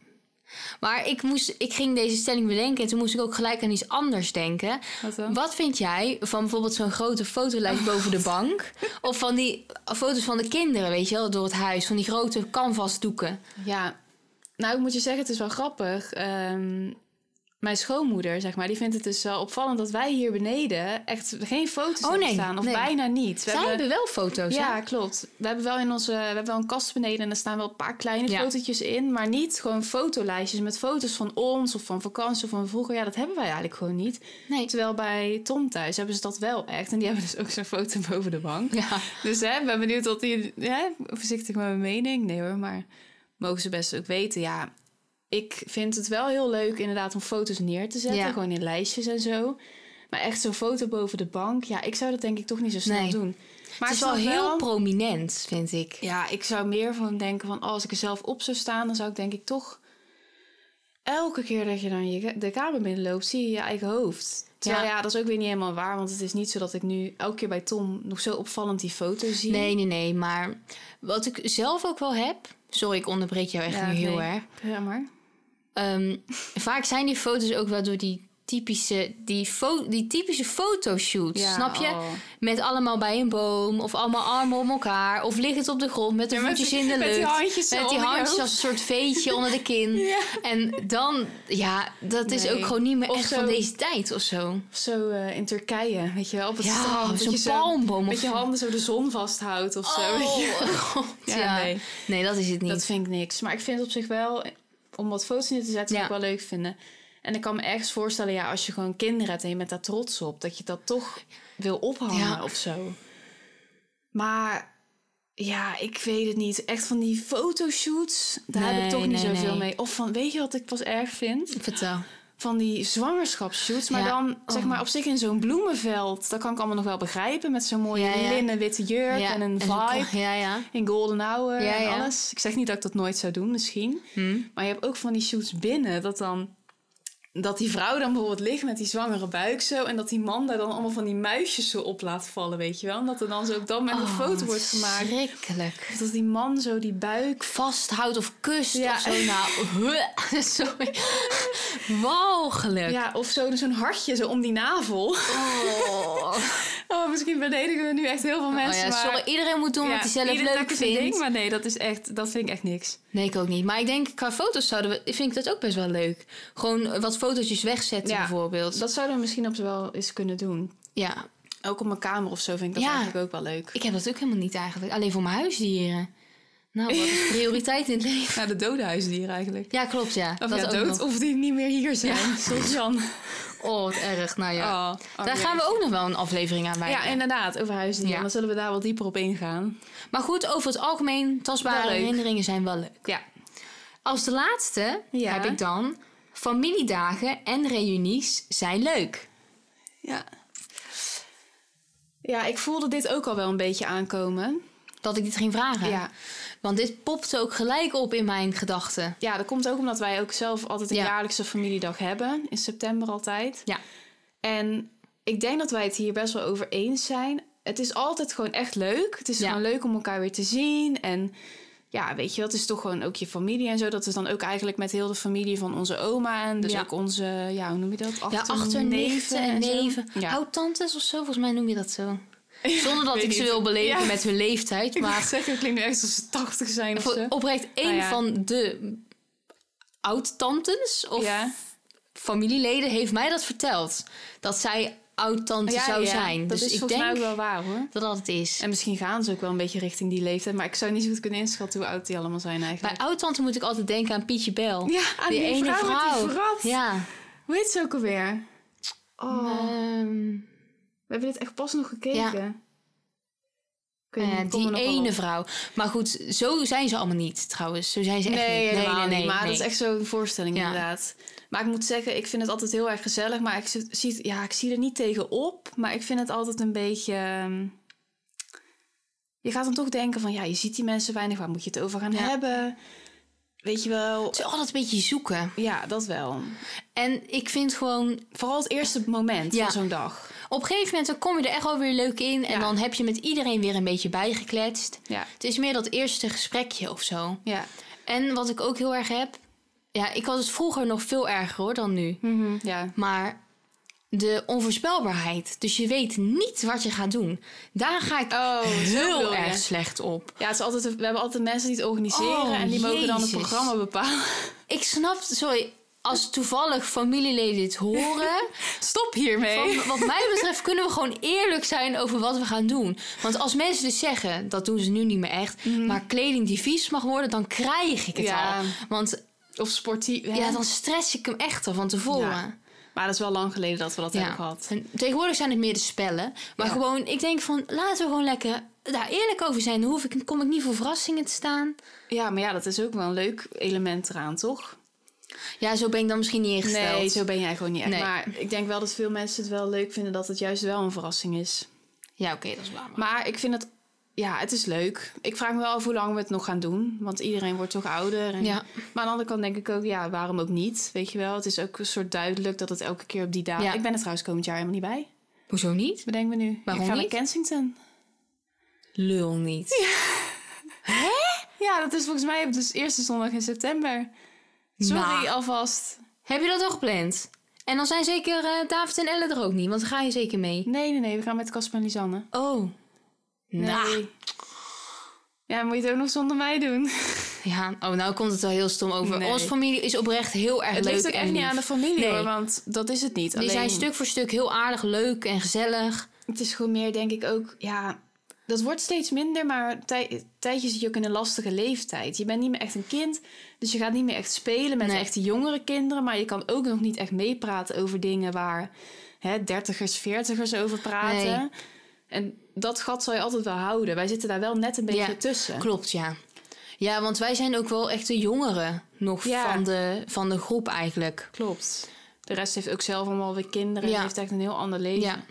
Speaker 2: Maar ik, moest, ik ging deze stelling bedenken en toen moest ik ook gelijk aan iets anders denken.
Speaker 1: Wat dan?
Speaker 2: Wat vind jij van bijvoorbeeld zo'n grote fotolijst
Speaker 1: Oh.
Speaker 2: boven de
Speaker 1: [laughs]
Speaker 2: bank? Of van die eh, foto's van de kinderen, weet je wel, door het huis. Van die grote canvasdoeken.
Speaker 1: Ja, nou ik moet je zeggen, het is wel grappig. Ehm, mijn schoonmoeder, zeg maar, die vindt het dus wel opvallend dat wij hier beneden echt geen foto's
Speaker 2: Oh,
Speaker 1: hebben
Speaker 2: nee,
Speaker 1: staan. Of
Speaker 2: nee.
Speaker 1: bijna niet. We
Speaker 2: Zij hebben wel foto's,
Speaker 1: ja,
Speaker 2: hè?
Speaker 1: klopt. We hebben wel in onze, we hebben wel een kast beneden en er staan wel een paar kleine
Speaker 2: Ja.
Speaker 1: fotootjes in, maar niet gewoon fotolijstjes met foto's van ons of van vakantie of van vroeger. Ja, dat hebben wij eigenlijk gewoon niet. [laughs]
Speaker 2: Nee.
Speaker 1: Terwijl bij Tom thuis hebben ze dat wel echt en die hebben dus ook zo'n foto boven de bank.
Speaker 2: Ja.
Speaker 1: Dus hè, ik ben benieuwd wat die... Hè, voorzichtig met mijn mening. Nee hoor, maar mogen ze best ook weten. Ja, ik vind het wel heel leuk inderdaad om foto's neer te zetten.
Speaker 2: Ja.
Speaker 1: Gewoon in lijstjes en zo. Maar echt zo'n foto boven de bank. Ja, ik zou dat denk ik toch niet zo snel
Speaker 2: Nee.
Speaker 1: doen. Maar
Speaker 2: Het is wel
Speaker 1: ik snap
Speaker 2: heel prominent, vind ik.
Speaker 1: Ja, ik zou meer van denken van... Oh, als ik er zelf op zou staan, dan zou ik denk ik toch... Elke keer dat je dan je, de kamer binnenloopt, zie je je eigen hoofd. Terwijl ja.
Speaker 2: Ja.
Speaker 1: dat is ook weer niet helemaal waar. Want het is niet zo dat ik nu elke keer bij Tom nog zo opvallend die foto zie.
Speaker 2: Nee, nee, nee. Maar wat ik zelf ook wel heb. Sorry, ik onderbreek jou echt
Speaker 1: Ja,
Speaker 2: nu heel
Speaker 1: nee.
Speaker 2: erg.
Speaker 1: Ja, maar...
Speaker 2: Ehm, vaak zijn die foto's ook wel door die typische, die fo- die typische fotoshoots.
Speaker 1: Ja,
Speaker 2: snap je?
Speaker 1: oh.
Speaker 2: Met allemaal bij een boom, of allemaal armen om elkaar, of liggend op de grond met de
Speaker 1: Ja, met
Speaker 2: voetjes
Speaker 1: die-
Speaker 2: in de
Speaker 1: [laughs] met
Speaker 2: lucht.
Speaker 1: die handjes zo
Speaker 2: Met die
Speaker 1: onder je
Speaker 2: handjes
Speaker 1: hoofd.
Speaker 2: als een soort veetje onder de
Speaker 1: [laughs]
Speaker 2: kin. En dan, ja, dat is
Speaker 1: Nee.
Speaker 2: ook gewoon niet meer
Speaker 1: Of
Speaker 2: echt
Speaker 1: zo-
Speaker 2: van deze tijd of zo.
Speaker 1: Of zo eh, in Turkije, weet je wel, op het
Speaker 2: Ja,
Speaker 1: strand. dat
Speaker 2: of
Speaker 1: je
Speaker 2: zo'n
Speaker 1: zo
Speaker 2: palmboom of
Speaker 1: Met je handen zo de zon vasthoudt of zo. weet je.
Speaker 2: Oh, God, ja.
Speaker 1: [laughs] Ja, nee.
Speaker 2: Nee, dat is het niet.
Speaker 1: Dat vind ik niks. Maar ik vind het op zich wel, eh, om wat foto's neer te zetten,
Speaker 2: Ja.
Speaker 1: zou ik wel leuk vinden. En ik kan me ergens voorstellen, ja, als je gewoon kinderen hebt en je bent daar trots op, dat je dat toch wil ophangen
Speaker 2: Ja.
Speaker 1: of zo. Maar ja, ik weet het niet. Echt van die fotoshoots, daar heb ik
Speaker 2: Nee,
Speaker 1: toch niet
Speaker 2: nee,
Speaker 1: zoveel
Speaker 2: nee.
Speaker 1: mee. Of van, weet je wat ik pas erg vind?
Speaker 2: Vertel.
Speaker 1: van die zwangerschapsshoots. Maar
Speaker 2: Ja.
Speaker 1: dan zeg
Speaker 2: Oh.
Speaker 1: maar op zich in zo'n bloemenveld. Dat kan ik allemaal nog wel begrijpen. Met zo'n mooie
Speaker 2: Ja, ja.
Speaker 1: linnen witte jurk en een
Speaker 2: zo'n ko-
Speaker 1: vibe.
Speaker 2: Ja, ja.
Speaker 1: In golden hour
Speaker 2: Ja,
Speaker 1: en
Speaker 2: ja.
Speaker 1: alles. Ik zeg niet dat ik dat nooit zou doen misschien.
Speaker 2: Hm.
Speaker 1: Maar je hebt ook van die shoots binnen. Dat dan... Dat die vrouw dan bijvoorbeeld ligt met die zwangere buik zo. En dat die man daar dan allemaal van die muisjes zo op laat vallen, weet je wel. En dat er dan zo op dat moment een
Speaker 2: Oh,
Speaker 1: foto wordt gemaakt.
Speaker 2: Schrikkelijk.
Speaker 1: Of dat die man zo die buik...
Speaker 2: vasthoudt of kust
Speaker 1: Ja.
Speaker 2: of zo. Nou, [laughs] huh, sorry. Walgelijk.
Speaker 1: Ja, of zo, zo'n hartje zo om die navel. [laughs]
Speaker 2: Oh.
Speaker 1: Oh, misschien beledigen we nu echt heel veel [laughs] mensen.
Speaker 2: ja,
Speaker 1: maar...
Speaker 2: sorry, iedereen moet doen
Speaker 1: Ja,
Speaker 2: wat hij zelf
Speaker 1: ieder
Speaker 2: leuk
Speaker 1: tak is een ding,
Speaker 2: vindt.
Speaker 1: maar nee, dat, is echt, dat vind ik echt niks.
Speaker 2: Nee, ik ook niet. Maar ik denk, qua foto's zouden we, vind ik dat ook best wel leuk. Gewoon eh, wat fotootjes wegzetten
Speaker 1: Ja.
Speaker 2: bijvoorbeeld.
Speaker 1: Dat zouden we misschien op z'n wel eens kunnen doen.
Speaker 2: Ja,
Speaker 1: Ook op mijn kamer of zo vind ik dat
Speaker 2: Ja.
Speaker 1: eigenlijk ook wel leuk.
Speaker 2: ik heb dat ook helemaal niet eigenlijk. Alleen voor mijn huisdieren. Nou,
Speaker 1: [laughs]
Speaker 2: wat is prioriteit in het leven?
Speaker 1: Naar de dodenhuisdieren eigenlijk.
Speaker 2: Ja, klopt, ja.
Speaker 1: Of
Speaker 2: dat
Speaker 1: ja,
Speaker 2: ook
Speaker 1: dood,
Speaker 2: nog.
Speaker 1: [laughs] of die niet meer hier zijn. Zoals Jan.
Speaker 2: Oh, wat erg. Nou ja.
Speaker 1: Oh, oh,
Speaker 2: Daar
Speaker 1: jee.
Speaker 2: gaan we ook nog wel een aflevering aan wijden.
Speaker 1: Ja, inderdaad, over huisdieren.
Speaker 2: Ja.
Speaker 1: Dan zullen we daar wat dieper op ingaan.
Speaker 2: Maar goed, over het algemeen, tastbare
Speaker 1: Wel leuk.
Speaker 2: herinneringen zijn wel leuk.
Speaker 1: Ja.
Speaker 2: Als de laatste
Speaker 1: Ja.
Speaker 2: heb ik dan... Familiedagen en reunies zijn leuk.
Speaker 1: Ja. Ja, ik voelde dit ook al wel een beetje aankomen.
Speaker 2: Dat ik dit ging vragen.
Speaker 1: Ja.
Speaker 2: Want dit popte ook gelijk op in mijn gedachten.
Speaker 1: Ja, dat komt ook omdat wij ook zelf altijd een
Speaker 2: Ja.
Speaker 1: jaarlijkse familiedag hebben. In september altijd.
Speaker 2: Ja.
Speaker 1: En ik denk dat wij het hier best wel over eens zijn. Het is altijd gewoon echt leuk. Het is
Speaker 2: Ja.
Speaker 1: gewoon leuk om elkaar weer te zien. En ja, weet je wel, het is toch gewoon ook je familie en zo. Dat is dan ook eigenlijk met heel de familie van onze oma. En dus
Speaker 2: Ja.
Speaker 1: ook onze, ja, hoe noem je dat?
Speaker 2: Ja, achterneven en
Speaker 1: zo.
Speaker 2: neven.
Speaker 1: Ja.
Speaker 2: Oud-tantes of zo, volgens mij noem je dat zo. Zonder dat
Speaker 1: weet
Speaker 2: ik ze
Speaker 1: niet.
Speaker 2: wil beleven
Speaker 1: Ja.
Speaker 2: met hun leeftijd.
Speaker 1: Ik wou
Speaker 2: Maar
Speaker 1: zeggen, het klinkt nu echt alsof ze tachtig zijn of
Speaker 2: voor-
Speaker 1: zo.
Speaker 2: oprecht één
Speaker 1: Nou ja.
Speaker 2: van de oud-tantes of
Speaker 1: ja.
Speaker 2: familieleden heeft mij dat verteld. Dat zij oud-tante
Speaker 1: Ja,
Speaker 2: zou
Speaker 1: ja,
Speaker 2: zijn.
Speaker 1: Dat
Speaker 2: dus
Speaker 1: is
Speaker 2: ik
Speaker 1: volgens
Speaker 2: denk
Speaker 1: mij ook wel waar hoor.
Speaker 2: dat dat het is.
Speaker 1: En misschien gaan ze ook wel een beetje richting die leeftijd. Maar ik zou niet zo goed kunnen inschatten hoe oud die allemaal zijn
Speaker 2: Bij
Speaker 1: eigenlijk.
Speaker 2: oud-tante moet ik altijd denken aan Pietje Bel.
Speaker 1: ja, aan die, ene vrouw, met die vrat.
Speaker 2: Ja.
Speaker 1: Hoe heet ze ook alweer? Oh,
Speaker 2: Ehm,
Speaker 1: we hebben dit echt pas nog gekeken. Ik weet
Speaker 2: eh,
Speaker 1: niet, ik kom er
Speaker 2: die
Speaker 1: nog wel
Speaker 2: ene
Speaker 1: op.
Speaker 2: vrouw. Maar goed, zo zijn ze allemaal niet trouwens. Zo zijn ze echt
Speaker 1: Nee,
Speaker 2: niet.
Speaker 1: helemaal niet. Maar dat is echt zo'n voorstelling
Speaker 2: Ja.
Speaker 1: inderdaad. Maar ik moet zeggen, ik vind het altijd heel erg gezellig. Maar ik zit- zie, het- ja, ik zie er niet tegen op. Maar ik vind het altijd een beetje... ehm, Je gaat dan toch denken van... Ja, je ziet die mensen weinig. Waar moet je het over gaan
Speaker 2: Ja.
Speaker 1: hebben? Weet je wel...
Speaker 2: Het is altijd een beetje zoeken.
Speaker 1: Ja, dat wel.
Speaker 2: En ik vind gewoon,
Speaker 1: Vooral het eerste moment
Speaker 2: Ja.
Speaker 1: van zo'n dag.
Speaker 2: op een gegeven moment dan kom je er echt wel weer leuk in. En
Speaker 1: Ja.
Speaker 2: dan heb je met iedereen weer een beetje bijgekletst.
Speaker 1: Ja.
Speaker 2: Het is meer dat eerste gesprekje of zo.
Speaker 1: Ja.
Speaker 2: En wat ik ook heel erg heb. Ja, ik had het vroeger nog veel erger hoor dan nu.
Speaker 1: ja.
Speaker 2: Maar de onvoorspelbaarheid. Dus je weet niet wat je gaat doen. Daar ga ik
Speaker 1: Oh, zo bedoel
Speaker 2: heel
Speaker 1: je.
Speaker 2: erg slecht op.
Speaker 1: Ja, het is altijd, we hebben altijd mensen die het organiseren
Speaker 2: Oh,
Speaker 1: en die mogen dan het
Speaker 2: Jezus.
Speaker 1: programma bepalen. [laughs]
Speaker 2: Ik snap, sorry, als toevallig familieleden dit horen.
Speaker 1: [laughs] Stop hiermee.
Speaker 2: Van, wat mij betreft kunnen we gewoon eerlijk zijn over wat we gaan doen. Want als mensen dus zeggen, dat doen ze nu niet meer echt, maar kleding die vies mag worden, dan krijg ik het
Speaker 1: Mhm. Ja.
Speaker 2: al. Want
Speaker 1: Of sportief. hè?
Speaker 2: ja, dan stress ik hem echt al van tevoren.
Speaker 1: Ja, Maar dat is wel lang geleden dat we dat hebben gehad.
Speaker 2: En tegenwoordig zijn het meer de spellen. Maar
Speaker 1: Ja.
Speaker 2: gewoon, ik denk van, laten we gewoon lekker daar eerlijk over zijn. Dan hoef ik, kom ik niet voor verrassingen te staan.
Speaker 1: Ja, maar ja, dat is ook wel een leuk element eraan, toch?
Speaker 2: Ja, zo ben ik dan misschien niet ingesteld.
Speaker 1: Nee, zo ben jij gewoon niet echt.
Speaker 2: Nee.
Speaker 1: Maar ik denk wel dat veel mensen het wel leuk vinden dat het juist wel een verrassing is.
Speaker 2: Ja, oké, dat is waar. maar-
Speaker 1: Maar ik vind het... Ja, het is leuk. Ik vraag me wel af hoe lang we het nog gaan doen. Want iedereen wordt toch ouder. En...
Speaker 2: Ja.
Speaker 1: Maar aan de andere kant denk ik ook, ja, waarom ook niet? Weet je wel, het is ook een soort duidelijk dat het elke keer op die dagen...
Speaker 2: Ja.
Speaker 1: Ik ben er trouwens komend jaar helemaal niet bij.
Speaker 2: Hoezo niet?
Speaker 1: Bedenk me nu.
Speaker 2: Waarom
Speaker 1: ik ga
Speaker 2: niet?
Speaker 1: naar Kensington.
Speaker 2: Lul niet.
Speaker 1: Ja, dat is volgens mij op de eerste zondag in september. Sorry
Speaker 2: Nou.
Speaker 1: alvast.
Speaker 2: Heb je dat al gepland? En dan zijn zeker eh, David en Ellen er ook niet, want dan ga je zeker mee.
Speaker 1: Nee, nee, nee. We gaan met Casper en Lisanne.
Speaker 2: Oh.
Speaker 1: Nee.
Speaker 2: Nou.
Speaker 1: Ja, moet je het ook nog zonder mij
Speaker 2: [laughs]
Speaker 1: doen?
Speaker 2: Ja, oh, nou komt het wel heel stom over.
Speaker 1: Nee.
Speaker 2: Onze familie is oprecht heel erg
Speaker 1: het
Speaker 2: leuk
Speaker 1: ligt ook
Speaker 2: en
Speaker 1: echt niet
Speaker 2: lief.
Speaker 1: aan de familie
Speaker 2: Nee.
Speaker 1: hoor, want dat is het niet.
Speaker 2: Die zijn stuk voor stuk heel aardig, leuk en gezellig.
Speaker 1: Het is gewoon meer, denk ik ook, ja... Dat wordt steeds minder, maar tij, tijdje zit je ook in een lastige leeftijd. Je bent niet meer echt een kind, dus je gaat niet meer echt spelen met
Speaker 2: Nee.
Speaker 1: echt de jongere kinderen. Maar je kan ook nog niet echt meepraten over dingen waar hè, dertigers, veertigers over praten.
Speaker 2: Nee.
Speaker 1: En dat gat zal je altijd wel houden. Wij zitten daar wel net een beetje
Speaker 2: Ja,
Speaker 1: tussen.
Speaker 2: Klopt, ja. Ja, want wij zijn ook wel echt de jongeren nog
Speaker 1: Ja.
Speaker 2: van, de, van de groep eigenlijk.
Speaker 1: Klopt. De rest heeft ook zelf allemaal weer kinderen en
Speaker 2: Ja.
Speaker 1: heeft echt een heel ander leven.
Speaker 2: Ja.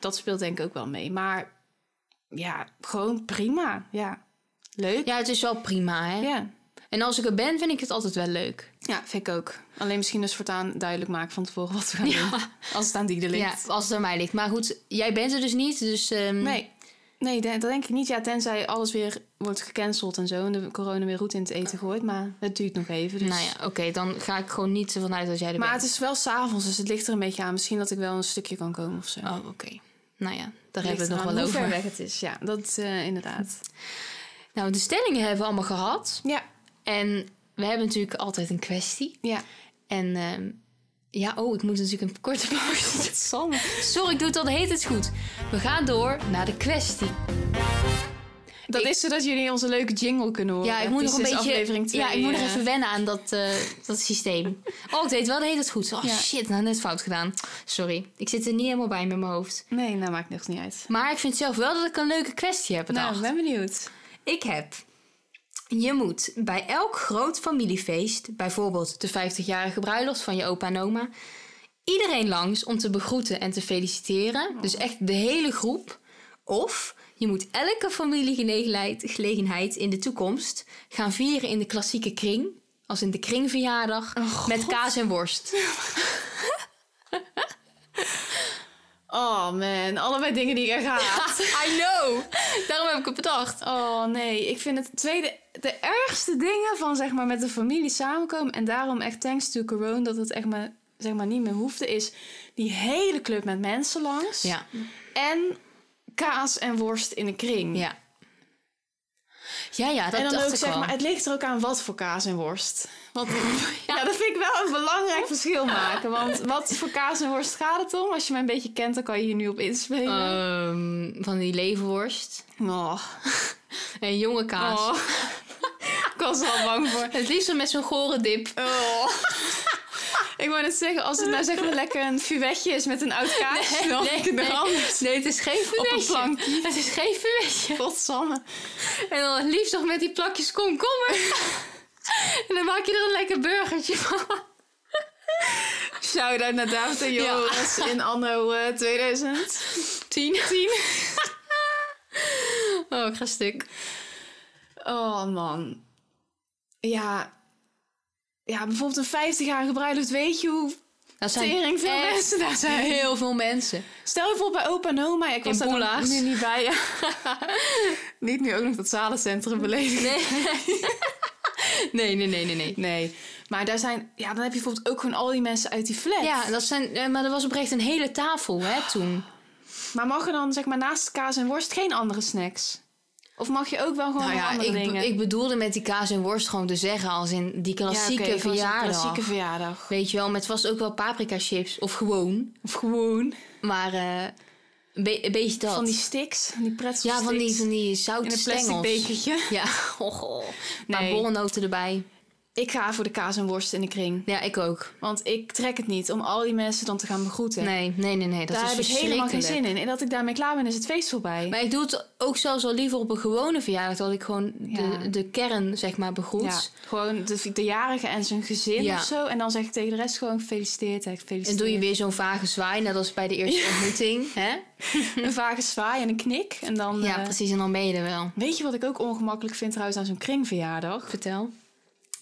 Speaker 1: Dat speelt denk ik ook wel mee. Maar ja, gewoon prima. Ja, leuk. Ja.
Speaker 2: ja, het is wel prima, hè?
Speaker 1: Ja.
Speaker 2: En als ik er ben, vind ik het altijd wel leuk.
Speaker 1: vind ik ook. Alleen misschien dus voortaan duidelijk maken van tevoren wat we gaan doen. Als het aan die er
Speaker 2: Ja,
Speaker 1: ligt.
Speaker 2: als het aan mij ligt. Maar goed, jij bent er dus niet, dus... ehm,
Speaker 1: Nee. Nee, de- dat denk ik niet. Ja, tenzij alles weer wordt gecanceld en zo. En de corona weer roet in het eten gooit. Maar het duurt nog even. Dus.
Speaker 2: Nou ja, oké, dan ga ik gewoon niet ervan uit dat jij er
Speaker 1: Maar
Speaker 2: bent.
Speaker 1: het is wel s'avonds, dus het ligt er een beetje aan. Misschien dat ik wel een stukje kan komen of zo.
Speaker 2: Oh, oké. Nou ja, daar hebben we het nog wel over.
Speaker 1: Hoe ver weg het is, ja. Dat eh, inderdaad.
Speaker 2: Nou, de stellingen hebben we allemaal gehad.
Speaker 1: Ja,
Speaker 2: En we hebben natuurlijk altijd een kwestie.
Speaker 1: ja.
Speaker 2: En ehm, ja, oh, ik moet natuurlijk een korte pauze. doen.
Speaker 1: Sanne.
Speaker 2: Sorry, ik doe het al de hele tijd goed. We gaan door naar de kwestie.
Speaker 1: Dat
Speaker 2: Ik-
Speaker 1: is zodat jullie onze leuke jingle kunnen horen.
Speaker 2: Ja, ik moet
Speaker 1: Het
Speaker 2: nog
Speaker 1: is
Speaker 2: een
Speaker 1: dus aflevering
Speaker 2: beetje.
Speaker 1: twee,
Speaker 2: Ja, ik moet nog
Speaker 1: eh.
Speaker 2: even wennen aan dat, eh, dat systeem. Oh, ik deed wel de hele tijd goed. Oh
Speaker 1: Ja.
Speaker 2: shit, nou net fout gedaan. Sorry, ik zit er niet helemaal bij met mijn hoofd.
Speaker 1: Nee, nou maakt niks niet uit.
Speaker 2: Maar ik vind zelf wel dat ik een leuke kwestie heb bedacht.
Speaker 1: Nou, ben benieuwd.
Speaker 2: Ik heb. Je moet bij elk groot familiefeest, bijvoorbeeld de 50-jarige bruiloft van je opa en oma, iedereen langs om te begroeten en te feliciteren.
Speaker 1: Oh.
Speaker 2: Dus echt de hele groep. Of je moet elke familiegelegenheid gelegenheid in de toekomst gaan vieren in de klassieke kring. Als in de kringverjaardag met kaas en worst.
Speaker 1: [laughs] Oh man, allebei dingen die ik echt haat.
Speaker 2: I know! Daarom heb ik het
Speaker 1: [laughs]
Speaker 2: bedacht.
Speaker 1: Oh nee, ik vind het tweede, de ergste dingen van zeg maar met de familie samenkomen. En daarom echt thanks to corona dat het echt maar, zeg maar niet meer hoefde. Is die hele club met mensen langs.
Speaker 2: Ja,
Speaker 1: En kaas en worst in een kring.
Speaker 2: ja. Ja, ja, dat
Speaker 1: en dan
Speaker 2: dacht
Speaker 1: ook
Speaker 2: ik
Speaker 1: zeg
Speaker 2: al.
Speaker 1: maar, het ligt er ook aan wat voor kaas en worst. Want [laughs] ja, dat vind ik wel een belangrijk verschil maken. Want wat voor kaas en worst gaat het om? Als je mij een beetje kent, dan kan je hier nu op inspelen.
Speaker 2: Ehm, van die levenworst.
Speaker 1: oh.
Speaker 2: En jonge kaas.
Speaker 1: Oh. [laughs] ik was er al bang voor.
Speaker 2: Het liefst met zo'n gore dip.
Speaker 1: [laughs] Oh. ik wou net zeggen, als het nou zeg maar lekker een fuvetje is met een oud kaasje, dan vind ik het nog anders.
Speaker 2: nee, het is geen
Speaker 1: Op een
Speaker 2: vuurtje.
Speaker 1: plank.
Speaker 2: Het is geen vuurtje.
Speaker 1: Godsamme.
Speaker 2: En dan het liefst nog met die plakjes komkommer. en dan maak je er een lekker burgertje van.
Speaker 1: Shout-out naar David en Joris in anno eh, 2000.
Speaker 2: Tien. [laughs]
Speaker 1: Tien.
Speaker 2: Oh, ik ga stuk.
Speaker 1: Oh man. Ja. Ja, bijvoorbeeld een 50-jarige bruiloft. Weet je hoe
Speaker 2: Dat
Speaker 1: tering veel
Speaker 2: echt
Speaker 1: mensen daar zijn?
Speaker 2: heel veel mensen.
Speaker 1: Stel je voor bij opa en oma. Ik was
Speaker 2: In
Speaker 1: daar dan
Speaker 2: boela's.
Speaker 1: nu niet bij. ja. [laughs] niet nu ook nog dat zalencentrum beleven.
Speaker 2: Nee. nee, nee, nee, nee, nee.
Speaker 1: Nee. Maar daar zijn... Ja, dan heb je bijvoorbeeld ook gewoon al die mensen uit die flat.
Speaker 2: Ja, dat zijn, eh, maar dat was oprecht een hele tafel hè, toen.
Speaker 1: Maar mag er dan zeg maar naast kaas en worst geen andere snacks? Of mag je ook wel gewoon
Speaker 2: Nou
Speaker 1: nog
Speaker 2: ja,
Speaker 1: andere
Speaker 2: ik, be-
Speaker 1: dingen?
Speaker 2: ik bedoelde met die kaas en worst gewoon te zeggen als in die
Speaker 1: Ja, oké,
Speaker 2: klassieke
Speaker 1: gewoon zo'n
Speaker 2: verjaardag.
Speaker 1: klassieke verjaardag.
Speaker 2: Weet je wel, met vast ook wel paprika chips of gewoon.
Speaker 1: Of gewoon
Speaker 2: Maar eh, een, be- een beetje dat.
Speaker 1: van die sticks, van die pretzels
Speaker 2: ja, van die, van die zoute
Speaker 1: in een plastic
Speaker 2: stengels.
Speaker 1: bekertje.
Speaker 2: Ja, [laughs] oh, oh.
Speaker 1: Nee.
Speaker 2: Maar borrelnoten erbij.
Speaker 1: Ik ga voor de kaas en worst in de kring.
Speaker 2: Ja, ik ook.
Speaker 1: Want ik trek het niet om al die mensen dan te gaan begroeten.
Speaker 2: Nee, nee, nee, nee. Dat
Speaker 1: daar
Speaker 2: is
Speaker 1: heb ik helemaal geen
Speaker 2: verschrikkelijk.
Speaker 1: zin in. En dat ik daarmee klaar ben, is het feest voorbij.
Speaker 2: Maar ik doe het ook zelfs al liever op een gewone verjaardag. Dat ik gewoon
Speaker 1: Ja.
Speaker 2: de, de kern, zeg maar, begroet.
Speaker 1: Ja, gewoon de, de jarige en zijn gezin
Speaker 2: Ja.
Speaker 1: of zo. En dan zeg ik tegen de rest gewoon gefeliciteerd. hè,
Speaker 2: En
Speaker 1: gefeliciteerd.
Speaker 2: doe je weer zo'n vage zwaai, net als bij de eerste
Speaker 1: [laughs]
Speaker 2: ontmoeting. Hè?
Speaker 1: een vage zwaai en een knik. En dan,
Speaker 2: Ja,
Speaker 1: eh,
Speaker 2: precies. En dan ben je er wel.
Speaker 1: Weet je wat ik ook ongemakkelijk vind trouwens aan zo'n kringverjaardag?
Speaker 2: Vertel.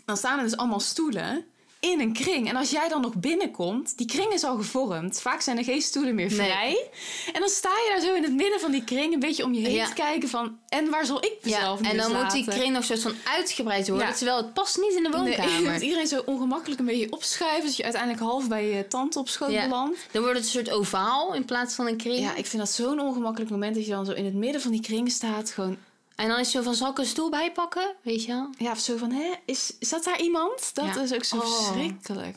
Speaker 1: Dan staan er dus allemaal stoelen in een kring. En als jij dan nog binnenkomt, die kring is al gevormd. Vaak zijn er geen stoelen meer
Speaker 2: Nee.
Speaker 1: vrij. En dan sta je daar zo in het midden van die kring een beetje om je heen
Speaker 2: Ja.
Speaker 1: te kijken van... En waar zal ik mezelf nu
Speaker 2: en dan
Speaker 1: eens
Speaker 2: moet die
Speaker 1: laten?
Speaker 2: kring nog soort van uitgebreid worden.
Speaker 1: Ja.
Speaker 2: Terwijl het past niet in de
Speaker 1: Nee, [laughs]
Speaker 2: woonkamer.
Speaker 1: dat iedereen zo ongemakkelijk een beetje opschuiven... dat je uiteindelijk half bij je tante op schoot
Speaker 2: Ja.
Speaker 1: belandt.
Speaker 2: Dan wordt het een soort ovaal in plaats van een kring.
Speaker 1: Ja, ik vind dat zo'n ongemakkelijk moment... dat je dan zo in het midden van die kring staat. Gewoon,
Speaker 2: En dan is het zo van, zal ik een stoel bijpakken? Weet je wel?
Speaker 1: ja, of zo van... Hè, is, is dat daar iemand? Dat
Speaker 2: Ja.
Speaker 1: is ook zo
Speaker 2: Oh.
Speaker 1: verschrikkelijk.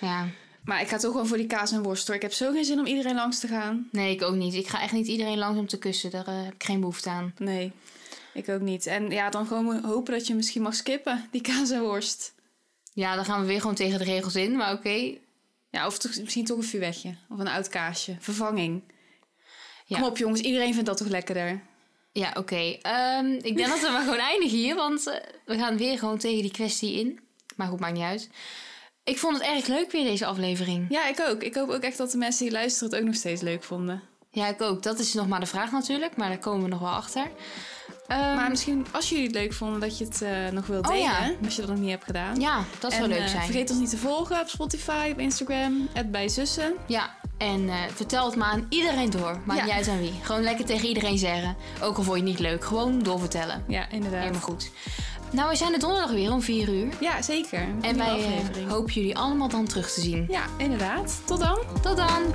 Speaker 2: Ja.
Speaker 1: Maar ik ga toch gewoon voor die kaas en worst hoor. Ik heb zo geen zin om iedereen langs te gaan.
Speaker 2: Nee, ik ook niet. Ik ga echt niet iedereen langs om te kussen. Daar eh, heb ik geen behoefte aan.
Speaker 1: Nee, ik ook niet. En ja, dan gewoon hopen dat je misschien mag skippen, die kaas en worst.
Speaker 2: Ja, dan gaan we weer gewoon tegen de regels in. Maar oké.
Speaker 1: Ja, of toch, misschien toch een vuurwegje. Of een oud kaasje. Vervanging.
Speaker 2: Ja.
Speaker 1: Kom op jongens, iedereen vindt dat toch lekkerder?
Speaker 2: Ja, oké. Ehm, ik denk dat we [laughs] maar gewoon eindigen hier. Want eh, we gaan weer gewoon tegen die kwestie in. Maar goed, maakt niet uit. Ik vond het erg leuk weer deze aflevering.
Speaker 1: Ja, ik ook. Ik hoop ook echt dat de mensen die luisteren het ook nog steeds leuk vonden.
Speaker 2: Ja, ik ook. Dat is nog maar de vraag natuurlijk. Maar daar komen we nog wel achter. Ehm,
Speaker 1: Maar misschien als jullie het leuk vonden dat je het eh, nog wilt
Speaker 2: Oh,
Speaker 1: delen.
Speaker 2: ja.
Speaker 1: Als je dat nog niet hebt gedaan.
Speaker 2: ja, dat zou
Speaker 1: En,
Speaker 2: leuk
Speaker 1: eh,
Speaker 2: zijn.
Speaker 1: vergeet ons niet te volgen op Spotify, op Instagram, het bij zussen.
Speaker 2: Ja, en eh, vertel het maar aan iedereen door. Maakt
Speaker 1: Ja.
Speaker 2: niet uit aan wie. Gewoon lekker tegen iedereen zeggen. Ook al vond je het niet leuk, gewoon doorvertellen.
Speaker 1: Ja, inderdaad.
Speaker 2: Helemaal goed. Nou, we zijn er donderdag weer om 4 uur.
Speaker 1: Ja, zeker. Een
Speaker 2: En
Speaker 1: nieuwe
Speaker 2: wij eh,
Speaker 1: aflevering.
Speaker 2: hopen jullie allemaal dan terug te zien.
Speaker 1: Ja, inderdaad. Tot dan.
Speaker 2: Tot dan!